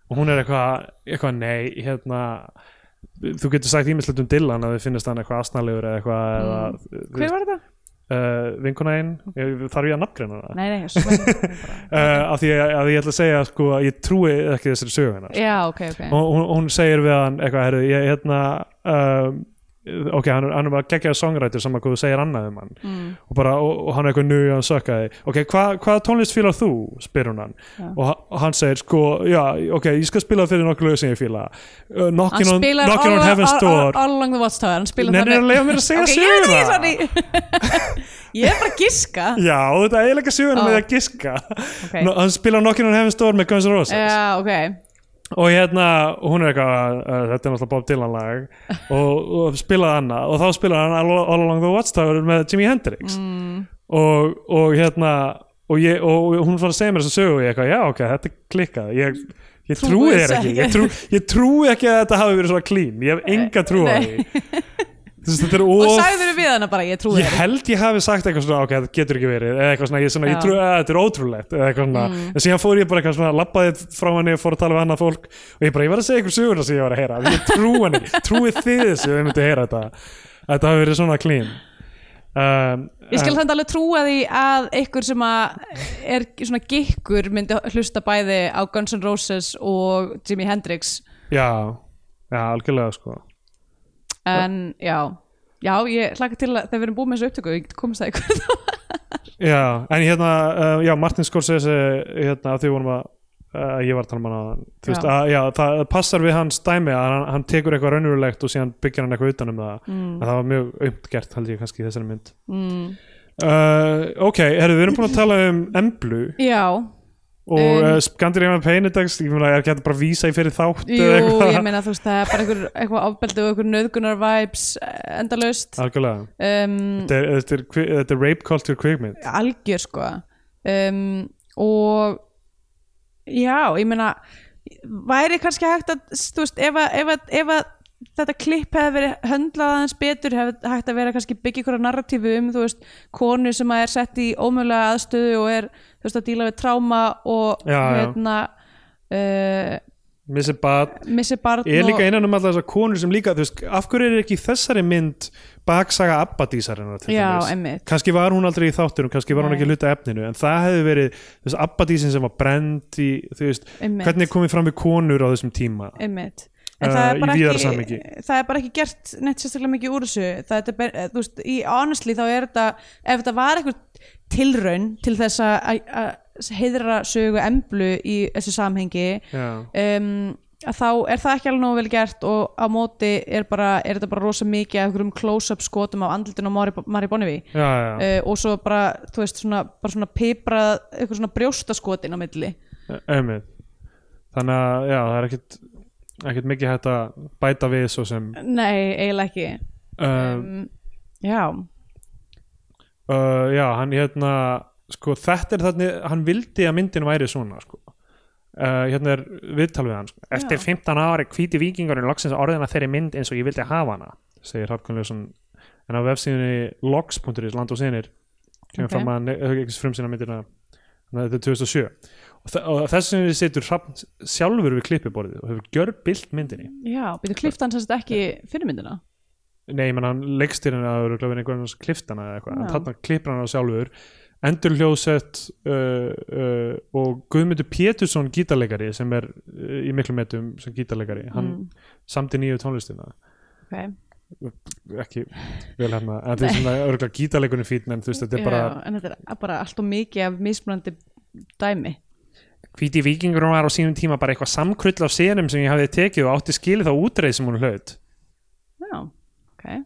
[SPEAKER 2] og hún er eitthvað, eitthvað nei hérna þú getur sagt ímislegt um Dylan að þið finnist hann eitthvað asnalegur eða eitthvað mm.
[SPEAKER 3] hver var þetta?
[SPEAKER 2] uh, vinkona einn, þarf ég að nafngreina það?
[SPEAKER 3] nei, nei, svo
[SPEAKER 2] Uh, af því að, að ég ætla að segja sko að ég trúi ekki þessari sögu hennar
[SPEAKER 3] já, ok, ok
[SPEAKER 2] og hún, hún segir við hann eitthvað herri, ég, hérna um, ok, hann, er- hann er bara geggjaði songrætur saman hvað þú segir annað um hann mm. og, bara, og, og hann er eitthvað nöðu að hann sökkaði ok, hva, hvaða tónlist fílar þú, spyr hún hann og, ha- og hann segir sko já, ok, ég skal spila fyrir nokkuð lög sem ég fíla uh,
[SPEAKER 3] hann
[SPEAKER 2] Knockin' on,
[SPEAKER 3] spilar
[SPEAKER 2] knockin
[SPEAKER 3] all,
[SPEAKER 2] on Heaven's
[SPEAKER 3] all, all,
[SPEAKER 2] Door
[SPEAKER 3] all along the watchtower hann spilar
[SPEAKER 2] Nennir að leiða mér að segja
[SPEAKER 3] ok, ég veit
[SPEAKER 2] söguna?
[SPEAKER 3] ekki sannig ég er bara að giska
[SPEAKER 2] Já, þetta er eiginlega söguna
[SPEAKER 3] Ó.
[SPEAKER 2] með að giska
[SPEAKER 3] Ok.
[SPEAKER 2] Nó- Hann spilar Knockin' on Heaven's Door með Guns N' Roses
[SPEAKER 3] já, ok,
[SPEAKER 2] og hérna, og hún er eitthvað uh, þetta er náttúrulega Bob Dylan lag og, og spilaði annað og þá spilaði hann All, All Along the Watchtower með Jimi Hendrix mm. og, og hérna og, ég, og hún var að segja mér þess að sögu og ég eitthvað, já ok, þetta klikkaði ég, ég
[SPEAKER 3] Trúi
[SPEAKER 2] trúi þér
[SPEAKER 3] þessu
[SPEAKER 2] ekki,
[SPEAKER 3] ekki.
[SPEAKER 2] ég, trú, ég trúi ekki að þetta hafi verið svona clean, ég hef enga trú á
[SPEAKER 3] Nei.
[SPEAKER 2] því Þú veist, þetta er
[SPEAKER 3] og
[SPEAKER 2] of
[SPEAKER 3] sagður við hana bara ég trúi
[SPEAKER 2] ég
[SPEAKER 3] þér
[SPEAKER 2] held ég hafi sagt eitthvað svona ok, þetta getur ekki verið eða eitthvað svona, ég, svona, ég
[SPEAKER 3] Já. Mm.
[SPEAKER 2] trú að þetta er ótrúlegt eða eitthvað svona, en síðan fór ég bara eitthvað svona labbaði frá henni og fór að tala við annað fólk og ég bara, ég var að segja ykkur söguna sem ég var að heyra ég trú henni, trúið þið þessu ef ég myndi að heyra þetta, þetta hafi verið svona clean um,
[SPEAKER 3] ég skal
[SPEAKER 2] en-
[SPEAKER 3] þannig alveg trúa því að ykkur sem að er svona gikkur myndi hlusta bæði á Guns N' Roses og Jimi Hendrix
[SPEAKER 2] já, já, algjörlega sko
[SPEAKER 3] en já já, ég hlaka til að þegar við erum búið með þessu upptöku ég komist það ykkur
[SPEAKER 2] já, en hérna, uh, já, Martin Scorsese hérna, af því vorum að Uh, ég var að tala um hann á þú veist
[SPEAKER 3] Já.
[SPEAKER 2] að já, það passar við hans dæmi að hann, hann tekur eitthvað raunverulegt og síðan byggir hann eitthvað utanum það
[SPEAKER 3] Mhm.
[SPEAKER 2] en það var mjög aumt gert held ég kannski í þessari mynd
[SPEAKER 3] mm.
[SPEAKER 2] uh, ok, herru, við erum búin að tala um Emblu
[SPEAKER 3] já,
[SPEAKER 2] og
[SPEAKER 3] Um.
[SPEAKER 2] um, uh, Skandinavian Painitex ég meina, er ekki hægt að bara vísa í fyrir þátt
[SPEAKER 3] jú, ég meina þú veist það er bara ykkur, eitthvað ofbeldi og ykkur nöðgunar vibes eh, endalaust
[SPEAKER 2] algjörlega,
[SPEAKER 3] um,
[SPEAKER 2] þetta er, þetta, er, kvi- þetta er rape culture kvikmynd
[SPEAKER 3] algjör sko um, og já, ég meina væri kannski hægt að þú veist, ef, að, ef, að, ef að þetta klipp hefði verið höndlað aðeins betur hefði hægt að vera kannski byggja ykkur narratífu um þú veist, konu sem að er sett í ómögulega aðstöðu og er þú veist, að díla við tráma og
[SPEAKER 2] Já, já.
[SPEAKER 3] hérna uh,
[SPEAKER 2] missi bad
[SPEAKER 3] missi barn
[SPEAKER 2] Ég er líka
[SPEAKER 3] og,
[SPEAKER 2] innan um alltaf þessar konur sem líka þú veist, af hverju er ekki í þessari mynd baksaga Abbadísarinnar til
[SPEAKER 3] Já,
[SPEAKER 2] dæmis?
[SPEAKER 3] einmitt.
[SPEAKER 2] kannski var hún aldrei í þáttunum kannski var hún
[SPEAKER 3] Nei.
[SPEAKER 2] ekki hluta efninu en það hefði verið þú veist, Abbadísin sem var brend í, þú veist,
[SPEAKER 3] Einmitt.
[SPEAKER 2] hvernig er komið fram við konur á þessum tíma
[SPEAKER 3] einmitt En
[SPEAKER 2] Eh,
[SPEAKER 3] það, er
[SPEAKER 2] í
[SPEAKER 3] bara
[SPEAKER 2] víðara
[SPEAKER 3] ekki,
[SPEAKER 2] samhengi.
[SPEAKER 3] það er bara ekki gert neitt sérstaklega mikið úr þessu það, þetta, er ber- eh, þú veist, í honestly þá er þetta ef þetta var eitthvað tilraun til þess að- að að heiðra sögu emblu í þessu samhengi
[SPEAKER 2] Já,
[SPEAKER 3] um, að þá er það ekki alveg nógu vel gert og á móti er, bara, er þetta bara rosa mikið af einhverjum close-up skotum á andlutinu á Mari, Mari Bonnevi
[SPEAKER 2] já, já, já.
[SPEAKER 3] uh, og svo bara, þú veist, svona, bara svona piprað, eitthvað svona brjóstaskotin á milli
[SPEAKER 2] einmitt Þannig að, já, það er ekkit ekkit mikið hægt að bæta við svo sem
[SPEAKER 3] Nei, eiginlega ekki
[SPEAKER 2] um,
[SPEAKER 3] um, Já,
[SPEAKER 2] uh, já, hann hérna sko, þetta er þannig, hann vildi að myndin væri svona, sko Uh, hérna er viðtal við hann sko. eftir 15 ári hvíti vikingurinn loksins orðina þeirri mynd eins og ég vildi hafa hana segir Hrafkunleifsson en á vefsíðunni logs.is land og sinir kemur
[SPEAKER 3] Ok.
[SPEAKER 2] fram að ekki frumsýna myndina þannig að þetta er 2007 og, þe- og þess vegna situr Hrafn sjálfur við klippiborðið og hefur gjör bilt myndinni
[SPEAKER 3] já, byrju klift hann sérst ekki fyrirmyndina
[SPEAKER 2] Nei, ég menn hann leggst í henni að vera glöfin einhvern hans kliftana eða eitthvað, en
[SPEAKER 3] Já.
[SPEAKER 2] þarna klippir hann á sjálfur endur hljóðsett uh, uh, og Guðmundur Pétursson gítarleikari sem er uh, í miklu metum sem gítarleikari, hann
[SPEAKER 3] Mm.
[SPEAKER 2] samti nýju tónlistina,
[SPEAKER 3] okay.
[SPEAKER 2] ekki vel hérna, en þeir sem það er örgulega gítarleikunum fín en þú veist, þetta er bara
[SPEAKER 3] já, En þetta er bara allt og mikið af mismunandi dæmi
[SPEAKER 2] Hvíti vikingurum var á sínum tíma bara eitthvað samkrull af senum sem ég hafði tekið og átti skilið á útreið sem hún hlaut
[SPEAKER 3] Já, ok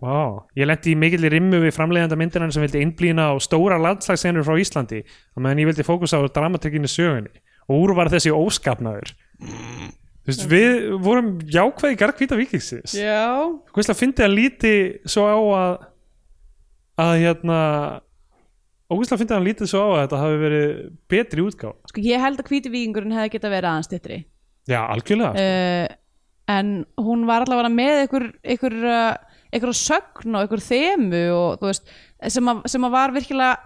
[SPEAKER 2] Vá, ég lendi í mikill rimmu við framleiðanda myndinan sem vildi innblýna á stóra landslagsenur frá Íslandi á meðan ég vildi fókusa á dramatikinu sögunni og úr var þessi óskapnaður Þú veist, við vorum jákvæði gargvíta vikingsins
[SPEAKER 3] Já,
[SPEAKER 2] Hvað veist að fyndi hann líti svo á að að hérna Ógustlega fyndi hann lítið svo á að þetta hafi verið betri útgáfa.
[SPEAKER 3] sko ég held að hvíti vikingurinn hefði getað verið aðeins þittri
[SPEAKER 2] Já, algjörlega.
[SPEAKER 3] uh, en hún var allavega með ykkur, ykkur, uh, ykkur sögn og ykkur þemu og þú veist sem að, sem að var virkilega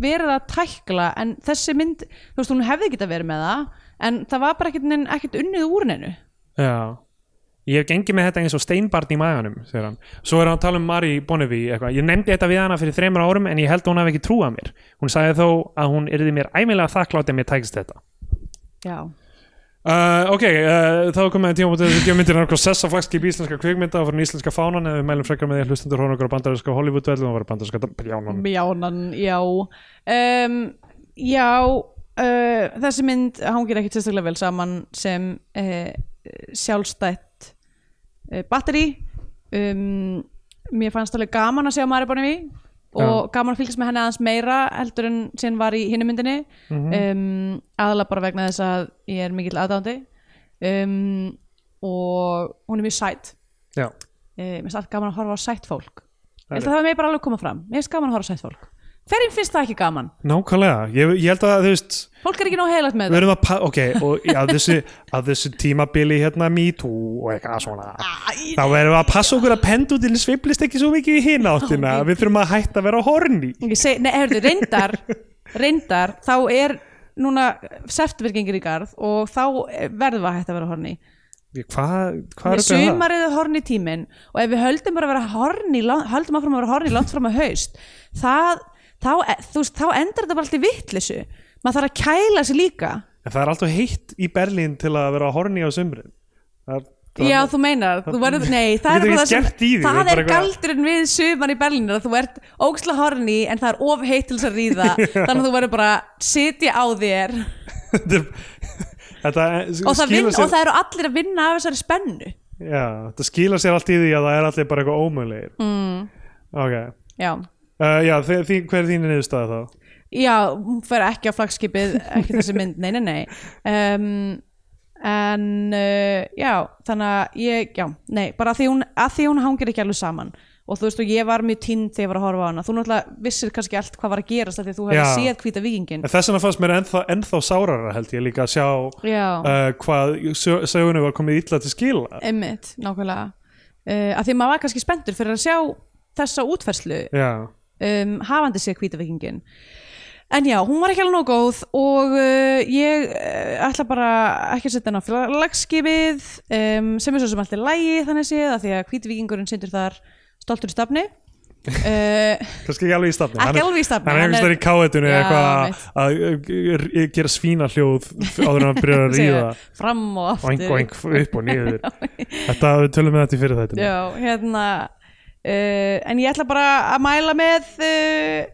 [SPEAKER 3] verið að tækla en þessi mynd, þú veist, hún hefði geta verið með það en það var bara ekkert, neinn- ekkert unnið úr neinu
[SPEAKER 2] Já Ég hef gengið með þetta eins og steinbarn í maganum segir hann. Svo er hann að tala um Mari Bonnevi eitthvað. Ég nefndi þetta við hana fyrir þremur árum en ég held að hún hafi ekki trúað mér Hún sagði þó að hún yrði mér æmilega þakklátt ef mér tækist þetta
[SPEAKER 3] Já,
[SPEAKER 2] Uh, ok, uh, þá komum við tíma búin að gefa myndir einhver sessa flagskip íslenska kvikmynda og fyrir hún íslenska fánan eða við mælum frekar með því að hlustundur hóna okkur á bandarinska Hollywood-vellum og var bandarinska brjánan
[SPEAKER 3] mjánan, já um, Já, uh, þessi mynd hangir ekkert sérstaklega vel saman sem uh, sjálfstætt uh, batteri um, mér fannst alveg gaman að sjá Mari Bonnevi og gaman að fylgjast með henni aðeins meira heldur en sem var í hinni myndinni um, aðalega bara vegna þess að ég er mikill aðdándi um, og hún er mjög sætt
[SPEAKER 2] Já,
[SPEAKER 3] uh, mér finnst alltaf gaman að horfa á sætt fólk
[SPEAKER 2] Það er
[SPEAKER 3] ég held að það með bara alveg koma fram mér finnst gaman að horfa á sætt fólk hverjum finnst það ekki gaman?
[SPEAKER 2] nákvæmlega Ég, ég held að þú veist
[SPEAKER 3] fólk er ekki nóg heilagt með
[SPEAKER 2] Við
[SPEAKER 3] það
[SPEAKER 2] erum að, pa- ok, og að þessu, að þessu tímabili hérna Me Too og eitthvað svona þá verðum við að passa okkur að pendutinn sveiflist ekki svo mikið í hina áttina við þurfum að hætta að vera horni
[SPEAKER 3] Ég seg, nei, heyrðu, reyndar, reyndar þá er núna septembergengir í garð og þá verðum við að hætta að vera horni
[SPEAKER 2] Hvað hva
[SPEAKER 3] Nei,
[SPEAKER 2] er þetta það?
[SPEAKER 3] sumarið er horni tíminn og ef við höldum bara að vera horni höldum áfram að vera horni langt fram að haust það, þá, e- þú veist, þá endar þetta bara allt í vittlisu maður þarf að kæla sig líka
[SPEAKER 2] En það er alltaf heitt í Berlín til að vera horni á sumrin það, er- það,
[SPEAKER 3] Já, þú meinar, þú verður, nei,
[SPEAKER 2] Þú
[SPEAKER 3] það er
[SPEAKER 2] getur ekki
[SPEAKER 3] bara það
[SPEAKER 2] skert í því, þú ert
[SPEAKER 3] það er
[SPEAKER 2] bara eitthvað-
[SPEAKER 3] galdurinn við sumar í Berlín að þú ert ógsla horni en það er of heitt til þess að ríða þannig að þú verður bara að sitja á þér
[SPEAKER 2] þetta er- Þetta
[SPEAKER 3] og það, vin,
[SPEAKER 2] skilar sér
[SPEAKER 3] og það eru allir að vinna af þessari spennu
[SPEAKER 2] Já, þetta skilar sér allt í því að það er allir bara eitthvað ómöðlegir mm. Ok,
[SPEAKER 3] já,
[SPEAKER 2] uh, já, þi- þi- hver er þín niðurstaða þá?
[SPEAKER 3] já hún fer ekki á flagskipið ekki þessi mynd, nei, nei, nei um, en uh, já, þannig að ég, já, nei, bara að því hún, að því hún hangir ekki alveg saman og þú veist og ég var mjög tinn þegar ég var að horfa á hana þú náttúrulega vissir kannski allt hvað var að gerast af því að þú hefði
[SPEAKER 2] Já.
[SPEAKER 3] séð hvíta vikingin
[SPEAKER 2] En þess vegna fannst mér ennþá, ennþá sárara held ég líka að sjá
[SPEAKER 3] já,
[SPEAKER 2] uh, hvað sö- sögunni var komið illa til skila
[SPEAKER 3] emmitt, nákvæmlega uh, að því maður var kannski spenntur fyrir að sjá þessa útferslu
[SPEAKER 2] Já,
[SPEAKER 3] um, hafandi séð hvíta vikingin en já, hún var ekki alveg nóg góð og uh, ég uh, ætla bara ekki að setja henn á félagskipið um, sem er svo sem allt er lægi þannig séð að því að hvíti vikingurinn sindur þar stoltur í stafni uh,
[SPEAKER 2] kannski ekki alveg í stafni
[SPEAKER 3] Ekki alveg í stafni,
[SPEAKER 2] Hann er
[SPEAKER 3] hann
[SPEAKER 2] einhvers
[SPEAKER 3] er-
[SPEAKER 2] þar í káetunni
[SPEAKER 3] Já,
[SPEAKER 2] eitthvað að- að að- að gera svína hljóð áður en hann byrjar að ríða
[SPEAKER 3] segja, fram og
[SPEAKER 2] oink,
[SPEAKER 3] aftur
[SPEAKER 2] oink, upp og niður Þetta, við tölum með þetta í fyrir þetta
[SPEAKER 3] já, hérna uh, en ég ætla bara að mæla með uh,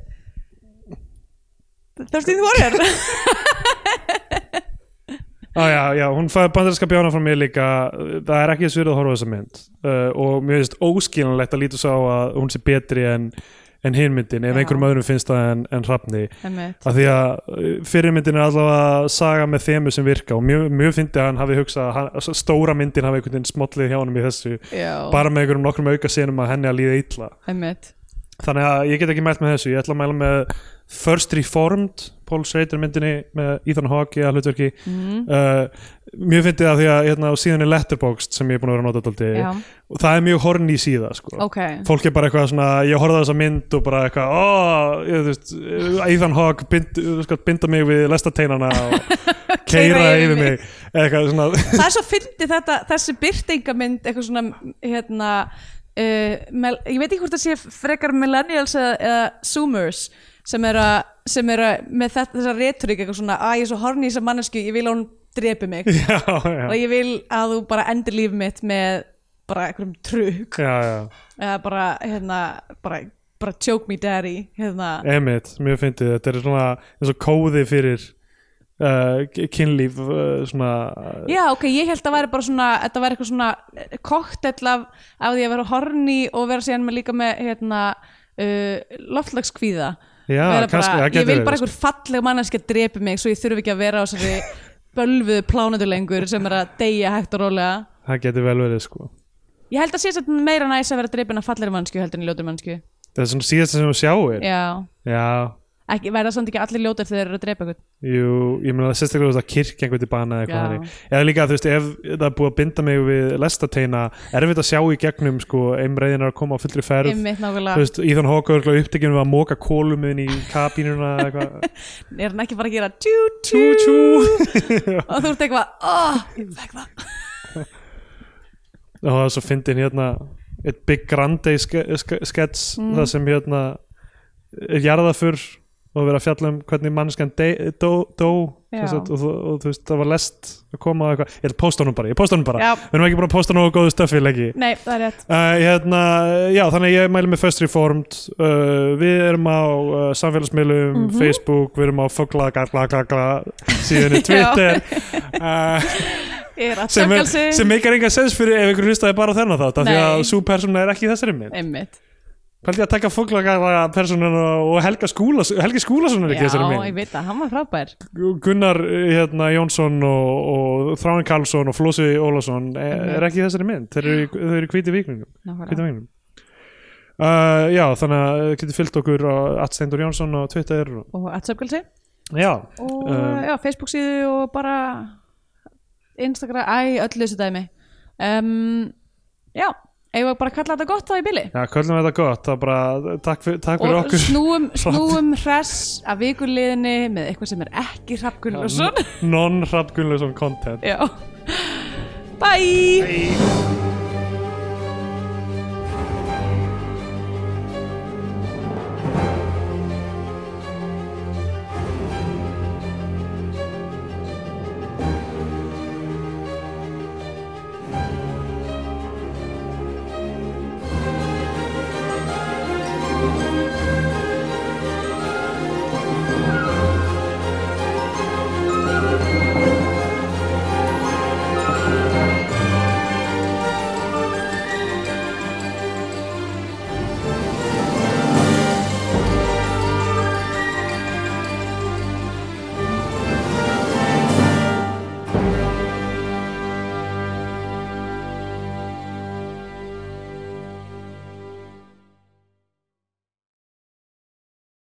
[SPEAKER 3] Þörstíð Warrior
[SPEAKER 2] Á, já, já, hún fæði bandarinska bjána frá mér líka það er ekki þessu verið að horfa á þessa mynd uh, og mér finnst óskiljanlegt að lítu sá að hún sé betri en, en hinmyndin ef
[SPEAKER 3] Já.
[SPEAKER 2] einhverjum öðrum finnst það en, en hrafni
[SPEAKER 3] Einmitt.
[SPEAKER 2] af því að eh, fyrirmyndin er allavega saga með þemu sem virka og mjög, mjög fyndi að hann hafi hugsað að hann, að stóra myndin hafi einhvern veginn smollið hjá honum í þessu
[SPEAKER 3] já,
[SPEAKER 2] bara með einhverjum nokkrum auka senum að henni að líða illa
[SPEAKER 3] einmitt
[SPEAKER 2] þannig að ég get ekki mælt með þessu ég ætla að mæla með First Reformed Paul Schrader myndinni með Ethan Hawke að hlutverki
[SPEAKER 3] Mhm.
[SPEAKER 2] uh, mjög fyndið að því að hérna, á síðan er Letterboxd sem ég er búin að vera að nota
[SPEAKER 3] já,
[SPEAKER 2] daldi og það er mjög horn í síða sko
[SPEAKER 3] ok
[SPEAKER 2] fólk er bara eitthvað svona, ég horfði á þessa mynd og bara eitthvað, ó, ég, þú veist Ethan Hawke bind, sko, binda mig við lestateinana og keira
[SPEAKER 3] Keyra yfir
[SPEAKER 2] yfir mig, eitthvað svona
[SPEAKER 3] það er svo fyndið þetta, þessi byrtingamind eitthvað svona hérna, uh, mel, ég veit ekki hvort það sé frekar millennials eða, eða zoomers sem eru að- sem eru að- með þetta, þessa retorík eitthvað svona að ég er svo horni í þessa mannesku, ég vil að hún drepi mig
[SPEAKER 2] já,
[SPEAKER 3] og
[SPEAKER 2] já,
[SPEAKER 3] ég vil að þú bara endur líf mitt með bara einhverjum trukk
[SPEAKER 2] já, já
[SPEAKER 3] eða bara, hérna, bara, bara choke me daddy hérna.
[SPEAKER 2] Emmett, mjög fyndið, þetta er svona eins og kóði fyrir uh, kynlíf uh, svona
[SPEAKER 3] Já, ok, ég held að væri bara svona þetta væri eitthvað svona koktell af, af því að vera horni og vera síðan með líka með hérna, uh, loftlagskvíða
[SPEAKER 2] Já,
[SPEAKER 3] Vera bara,
[SPEAKER 2] kannski, það
[SPEAKER 3] Ég
[SPEAKER 2] getur
[SPEAKER 3] vil
[SPEAKER 2] verið,
[SPEAKER 3] bara
[SPEAKER 2] sko.
[SPEAKER 3] einhver falleg manneskja drepi mig svo ég þurfi ekki að vera á þessari bölvuðu plánutu lengur sem er að deyja hægt og rólega
[SPEAKER 2] það getur vel verið sko
[SPEAKER 3] Ég held að sé þetta meira næs að vera drepin af fallegri mannsku heldur en ljótur mannsku
[SPEAKER 2] það er svona síðasta sem við sjáum
[SPEAKER 3] Já,
[SPEAKER 2] já,
[SPEAKER 3] ekki, verða samt ekki allir ljótar þegar þeir eru að drepa einhvern
[SPEAKER 2] Jú, ég meina það sérstaklega þú veist, að kirkja einhvern til bana eða
[SPEAKER 3] Já.
[SPEAKER 2] eitthvað þannig eða líka þú veist ef það er búið að binda mig við lestateina erfitt að sjá í gegnum sko einreiðin er að koma á fullri ferð
[SPEAKER 3] Einmitt
[SPEAKER 2] þú
[SPEAKER 3] nákvæmlega,
[SPEAKER 2] veist Íðan Hóka er upptekinu að móka kólum inn í kabínuna eða eitthvað
[SPEAKER 3] er hann ekki bara að gera tjú tjú
[SPEAKER 2] tjú tjú
[SPEAKER 3] og þú ert eitthvað, oh, ég fekk það
[SPEAKER 2] og það er svo fyndin hérna eitt Big Grande ske, ske, skets
[SPEAKER 3] Mm.
[SPEAKER 2] það sem hérna er jarðafur og verið að fjalla um hvernig mannskan de- dó, dó
[SPEAKER 3] Já.
[SPEAKER 2] sem sagt, og, þú- og þú veist það var lest að koma og eitthvað, ég ætla að posta honum bara, ég posta honum bara
[SPEAKER 3] Já.
[SPEAKER 2] við erum ekki búin að posta nógu góðu stöffi lengi
[SPEAKER 3] Nei, það er rétt
[SPEAKER 2] Uh, hérna, já, þannig að ég mæli með First Reformed uh, við erum á uh, samfélagsmiðlum,
[SPEAKER 3] Mhm.
[SPEAKER 2] Facebook við erum á fogla, gagla, gagla síðan í Twitter uh,
[SPEAKER 3] Ég er að
[SPEAKER 2] sem, er,
[SPEAKER 3] tjökkalsi
[SPEAKER 2] sem meikar enga sens fyrir ef ykkur hlustaði bara á þennan þátt af því að
[SPEAKER 3] Nei.
[SPEAKER 2] sú persóna er ekki í þessari mynd
[SPEAKER 3] Einmitt.
[SPEAKER 2] hvað er að taka fogla, gagla persónan og og Helga, Skúla, Helgi Skúlason er
[SPEAKER 3] Já,
[SPEAKER 2] ekki í þessari
[SPEAKER 3] ég
[SPEAKER 2] mynd
[SPEAKER 3] veit það, hann var frábær
[SPEAKER 2] Gunnar uh, hérna, Jónsson og, og Þráin Karlsson og Flósi Ólason
[SPEAKER 3] Mhm.
[SPEAKER 2] er, er ekki í þessari mynd þeir eru, í- þau eru í hvíti vikningum
[SPEAKER 3] Nákvæmlega.
[SPEAKER 2] Hvíta veginum uh, Já, þannig að þið getur fyllt okkur á Atsteindur Jónsson og Twitter og,
[SPEAKER 3] Og aðsöfgalsi
[SPEAKER 2] Já,
[SPEAKER 3] Og
[SPEAKER 2] Um,
[SPEAKER 3] já, Facebook síðu og bara Instagram, æ, öllu þessu dæmi um, Já, eigum við bara að kalla þetta gott þá í bili
[SPEAKER 2] já, köllum þetta gott það er bara, takk, fyr, takk fyrir
[SPEAKER 3] Og
[SPEAKER 2] okkur
[SPEAKER 3] snúum, snúum hress af vikurliðinni með eitthvað sem er ekki Hrafn Gunnlaugsson
[SPEAKER 2] Non-Hrafn Gunnlaugsson content
[SPEAKER 3] Já Bye.
[SPEAKER 2] Bye